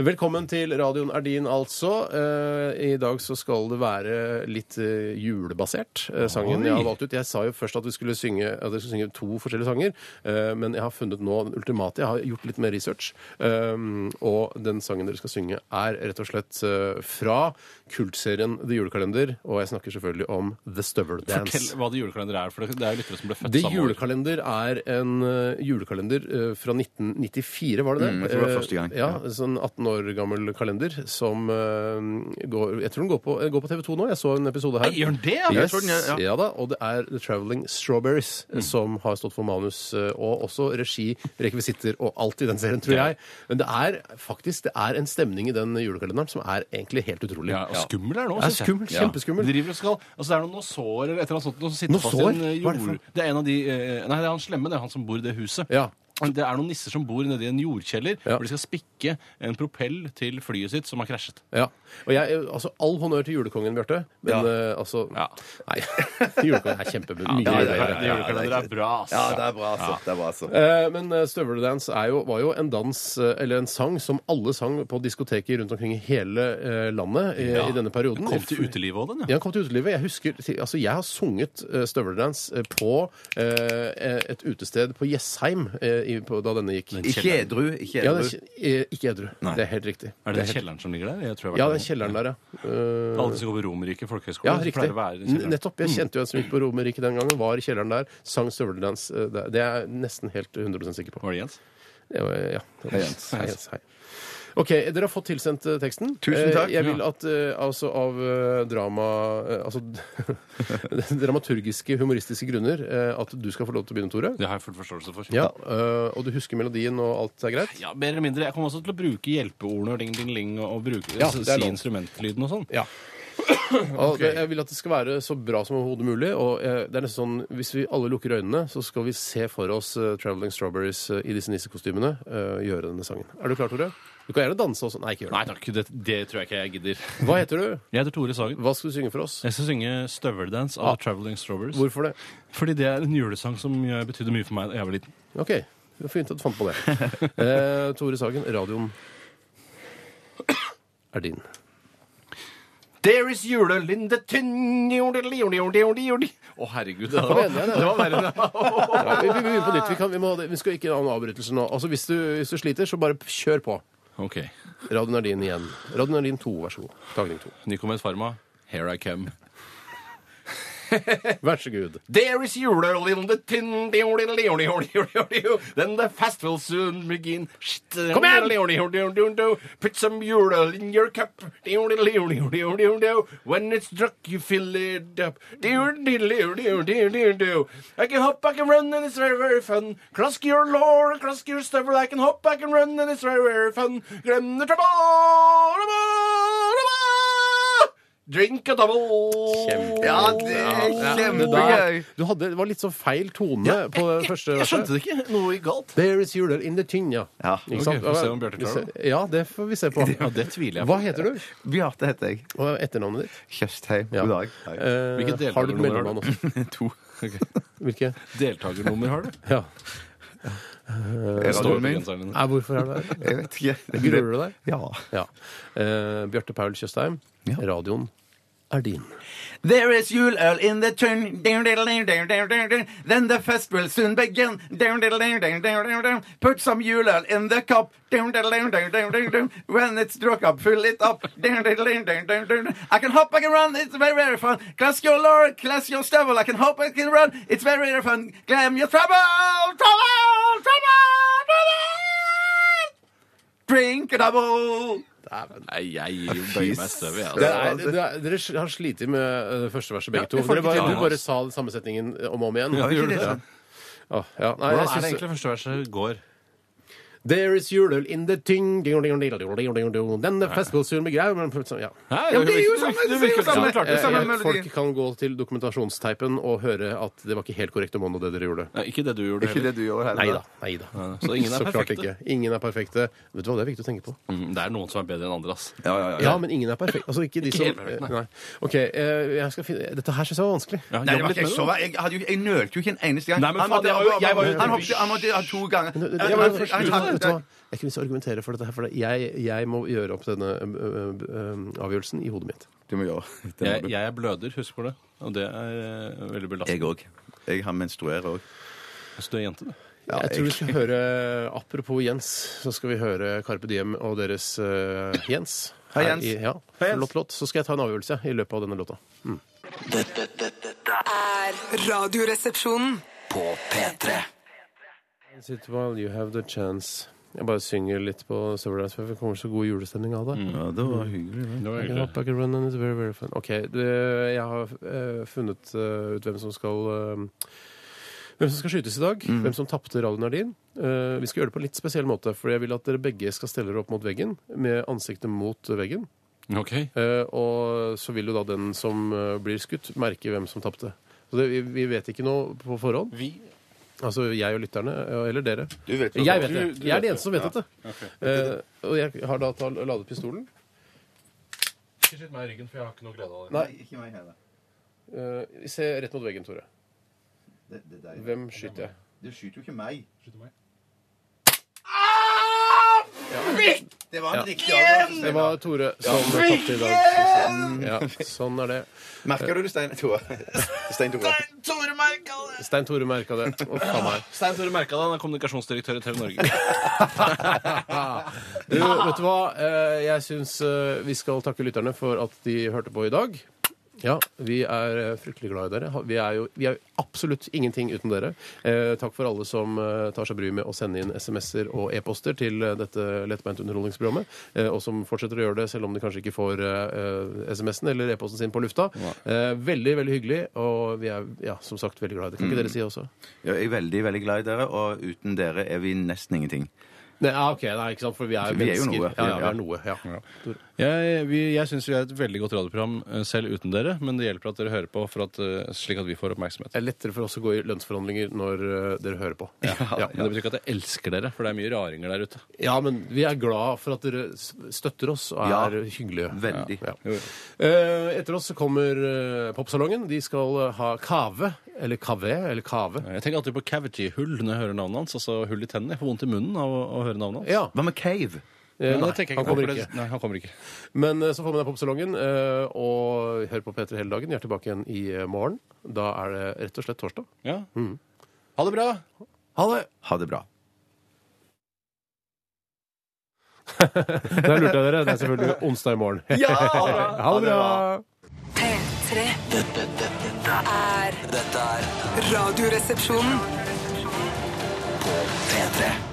Velkommen til radioen er din, altså. Eh, I dag så skal det være litt eh, julebasert, eh, sangen jeg har valgt ut. Jeg sa jo først at vi skulle synge, at jeg skulle synge to forskjellige sanger, eh, men jeg har funnet nå den ultimate. Jeg har gjort litt mer research. Um, Og den sangen dere skal synge, er rett og slett eh, fra kultserien The Julekalender, og jeg snakker selvfølgelig om The Stubble Dance. Fortell hva det julekalender er, for det det er jo lyttere som ble født Det samme år. julekalender er en ø, julekalender ø, fra 1994, var det det? Mm, jeg tror det var første gang. Eh, Ja, Sånn 18 år gammel kalender som ø, går Jeg tror den går på, eh, går på TV 2 nå. Jeg så en episode her. Nei, Gjør den det, ja? Mm. Yes, tror den gjør- ja da, og det er The Traveling Strawberries eh, som har stått for manus eh, og også regi, rekvisitter og alt i den serien, tror jeg. Men det er faktisk det er en stemning i den julekalenderen som er egentlig helt utrolig. Ja, og skummel er det nå, Ja, synes jeg. skummel, kjempeskummel. De driver og skal, altså det er noen nosår eller et eller annet sånt noe som sitter fast i Nosår? en eh, Hva er det jord... Det er en av de, eh, nei, det er han slemme, det er han som bor i det huset. Ja. Det er noen nisser som bor nede i en jordkjeller, Ja. hvor de skal spikke en propell til flyet sitt som har krasjet. Ja. Og jeg, altså, all honnør til julekongen, Bjarte. Men Ja. eh, altså Ja. Nei. <laughs> julekongen er kjempebra. Mye ja, ja, bedre. ja, ja. Julekalender er bra, ass. Ja, det er bra, altså. Det er bra, altså. Eh, Men eh, Støveldance er jo, var jo en dans, eh, eller en sang, som alle sang på diskoteker rundt omkring i hele eh, landet i, i denne perioden. Kom til utelivet også, den, Ja, den kom til utelivet. Jeg husker, til- altså jeg har sunget eh, Støveldance eh, på eh, et utested på Jessheim eh, i- på- da denne gikk. Ikke edru. Ikke Ja, edru. det er ikke- eh, ikke edru. Nei. Det er helt riktig. Er det den helt- kjelleren som ligger der? Jeg tror jeg har vært Ja, der den nå. kjelleren der, ja. Eh, Alle de som går på Romerike folkehøgskole, Ja, så riktig. pleier det å være den kjelleren. Nettopp. Jeg kjente jo en som gikk på Romerike den gangen. Var i kjelleren der, sang støveldans. eh, der. Det er jeg nesten helt eh, 100 sikker på. Var det Jens? Det var- Ja. Hei, Jens. Hei, Jens. Hei. OK, dere har fått tilsendt eh, teksten. Tusen takk. Eh, Jeg vil at eh, altså av eh, drama... eh, Altså <laughs> dramaturgiske, humoristiske grunner eh, at du skal få lov til å begynne, Tore. Det har jeg full forståelse for. Ja, eh, Og du husker melodien, og alt er greit? Ja, mer eller mindre. Jeg kommer også til å bruke hjelpeordene og ding, ding, ling, og og bruke, altså, Ja, det er si lov. instrumentlyden og sånn. <coughs> Ja. Og det- Jeg vil at det skal være så bra som overhodet mulig. og eh, det er nesten sånn, Hvis vi alle lukker øynene, så skal vi se for oss eh, Traveling Strawberries eh, i disse nissekostymene eh, gjøre denne sangen. Er du klar, Tore? Du kan gjerne danse også. Nei, ikke gjør Nei det. takk, det, det tror jeg ikke jeg gidder. Hva heter du? Jeg heter Tore Sagen. Hva skal du synge for oss? Jeg skal synge 'Støveldance' av Traveling Strawberries. Hvorfor det? Fordi det er en julesang som eh, betydde mye for meg da jeg var liten. OK. Det var fint at du fant på det. <laughs> Eh, Tore Sagen, radioen er din. There is julelinde tynn jordi-jordi-jordi-jordi. Å, herregud. Det Kom var, igjen, ja, det. det var verre enn det. <laughs> Ja, vi vi begynner på nytt. Vi, kan, vi, må, vi skal ikke ha noen avbrytelser nå. Altså, hvis, du, hvis du sliter, så bare kjør på. OK. Radioen er din igjen. Radioen er din to, vær så god. Tagning to. Nykommet Pharma, 'Here I Come'. Vær så god. There is julelinde tynn jordi-jordi-jordi-jordi. Then the fast will soon begin. Kom igjen! Put some jule in your cup. When it's drunk, you fill it up. I can hop, I can run, and it's very, very fun. Clask your lore, clask your stubble. I can hop, I can run, and it's very, very fun. Glem the trouble. Drink a double. Kjempe- Ja, det er Det, der, kjempegøy! du hadde, det var litt sånn feil tone på det første Jeg skjønte det ikke. Noe gikk galt. There is jule in the tin, ja. Ja. Ikke Ok, sant? får vi se om Bjarte klarer det. Ja, det får vi se på. <laughs> Ja, det tviler jeg på. Hva heter du? Bjarte heter jeg. Og etternavnet ditt? Tjøstheim. Ja. God dag. Eh, Hvilket har du et deltakernummer har mellomnavn du? også? <laughs> To. Hvilke? Deltakernummer har du? Ja. Eh, Radioen min. Nei, hvorfor er du her? <laughs> Jeg vet ikke. Gruer du deg? Ja. Ja. Eh, Bjarte Paul Tjøstheim, Ja. radioen er din. There is juleøl in the tun Then the fest will soon begin Put some juleøl in the cup When it's drunk up, fill it up I can hop, I can run, it's very, very fun Class your lord, class your stubble I can hop, I can run, it's very, very fun Glam your trouble, trouble, trouble, trouble Drink a double Nei, jeg bøyer meg i støvet, jeg. Det Altså. er, det er, dere har slitt med eh, første verset, begge Ja, to. vi får Dere ikke bare, du til det. bare sa den samme setningen om og om igjen. Ja, vi gjorde det. Åh, ja. Nei, jeg Hvordan er det synes- egentlig første verset går? There is juleøl in the ting ding, ding, ding, ding, ding, ding, ding. Then the festival soon began Men- ja. Ja, det er jo samme- det er jo samme- det klarte det er samme- jeg. Eh, melodi. Folk kan gå til dokumentasjonsteipen og høre at det var ikke helt korrekt om Mondo det dere gjorde. Nei, Ikke det du gjorde Ikke heller. det du gjør heller Nei da. Nei da. <laughs> Så ingen er Så klart perfekte. ikke. Ingen er perfekte. Vet du hva, det er viktig å tenke på. Mm, Det er noen som er bedre enn andre, ass. Ja, ja, ja. Ja, men ingen er perfekte. Altså, ikke de Ikke som helt perfekt, nei. Nei. OK, eh, jeg skal finne Dette her syns jeg var vanskelig. Ja, Nei, det jobb litt var ikke, jeg, med det, så, da. jeg, hadde jo, jeg nølte jo ikke en eneste gang. Nei, men han, faen, måtte, jeg var jo- jeg var jo- han, hoppet, han måtte ha to ganger. Men det- det- Han- Jeg han- var først- vet du hva, han- vet du han- hva? Jeg kunne ikke argumentere for dette her, for det- jeg, jeg må gjøre opp denne eh, ø, ø, ø, eh, avgjørelsen i hodet mitt. Du må gjøre det. må Jeg, du. jeg er bløder, husk på det. Og det er eh, veldig Jeg belastende. òg. Jeg har menstruerer òg. Så du er jente, du. jeg tror vi skal høre Apropos Jens, så skal vi høre Carpe Diem og deres eh, Jens. Hei, Her Jens. I, ja, flott låt. Så skal jeg ta en avgjørelse i løpet av denne låta. Dette, dette, dette er Radioresepsjonen. på P3. Sit while you have the chance. Jeg bare synger litt på Silver Dance, for det kommer så god julestemning av det. Ja, det var hyggelig. Det var I can egentlig- hop, I can run, and it's very, very fun. OK, det, jeg har eh, funnet eh, ut hvem som skal eh, hvem som skal skytes i dag. Mm. Hvem som tapte radioen er din. Eh, vi skal gjøre det på en litt spesiell måte, for jeg vil at dere begge skal stelle dere opp mot veggen med ansiktet mot veggen. Ok. Eh, og så vil jo da den som eh, blir skutt, merke hvem som tapte. Så det, vi, vi vet ikke noe på forhånd. Altså jeg og lytterne, eh, eller dere. Du vet jo jeg det. vet det. jeg er den eneste som vet dette. Eh, og jeg har da ta- ladet pistolen. Ikke skyt meg i ryggen, for jeg har ikke noe glede av det. Nei, ikke meg heller. Eh, se rett mot veggen, Tore. Det- det er deg. Hvem skyter jeg? Du skyter jo ikke meg. meg. Det var en riktig Det avgjørelse. var Tore som tapte i dag. Ja, sånn er det. Merker du det, <laughs> Stein Tore? Stein Tore. Stein Tore merka det. Å, faen meg. Stein Tore merka det, han er kommunikasjonsdirektør i TV Norge. Du, vet du hva? Eh, Jeg syns eh, vi skal takke lytterne for at de hørte på i dag. Ja, vi er eh, fryktelig glad i dere. Ha- Vi er jo, vi er jo absolutt ingenting uten dere. Eh, takk for alle som eh, tar seg bryet med å sende inn SMS-er og e-poster til eh, dette lettbeint underholdningsprogrammet, eh, og som fortsetter å gjøre det selv om de kanskje ikke får eh, eh, SMS-en eller e-posten sin på lufta. Eh, veldig, veldig hyggelig, og vi er ja, som sagt Mm. veldig glad i dere. Kan ikke dere si det også? Ja, jeg er veldig, veldig glad i dere, og uten dere er vi nesten ingenting. Nei, ja, ok, nei, ikke sant, for vi er jo Vi er jo mennesker. noe. Ja, ja, vi Ja. er noe, ja. <laughs> Jeg, vi- jeg syns vi er et veldig godt radioprogram eh, selv uten dere, men det hjelper at dere hører på, for at, eh, slik at vi får oppmerksomhet. Det er lettere for oss å gå i lønnsforhandlinger når eh, dere hører på. Ja. Ja, men Det betyr ikke at jeg elsker dere, for det er mye raringer der ute. men vi er glad for at dere s- støtter oss og Ja. er hyggelige. Veldig. Ja. Eh, etter oss så kommer eh, popsalongen. De skal eh, ha kave, eller kave, eller kave. Jeg tenker alltid på cavity-hull når jeg hører navnet hans. altså hull i tennene. Jeg får vondt i munnen av å, å høre navnet hans. Ja, Hva med Cave? eh, Men nei, det tenker jeg han kommer på, for ikke. det- Nei, han kommer ikke. Men eh, så får man deg popsalongen, eh, og hør på P3 hele dagen. Vi er tilbake igjen i eh, morgen. Da er det rett og slett torsdag. Ja. Ha det bra! Ha det! Ha det bra. Der lurte jeg dere. Det er selvfølgelig onsdag i morgen. <laughs> ha det bra! P3 Dette, dette, dette, er dette er Radioresepsjonen. P3.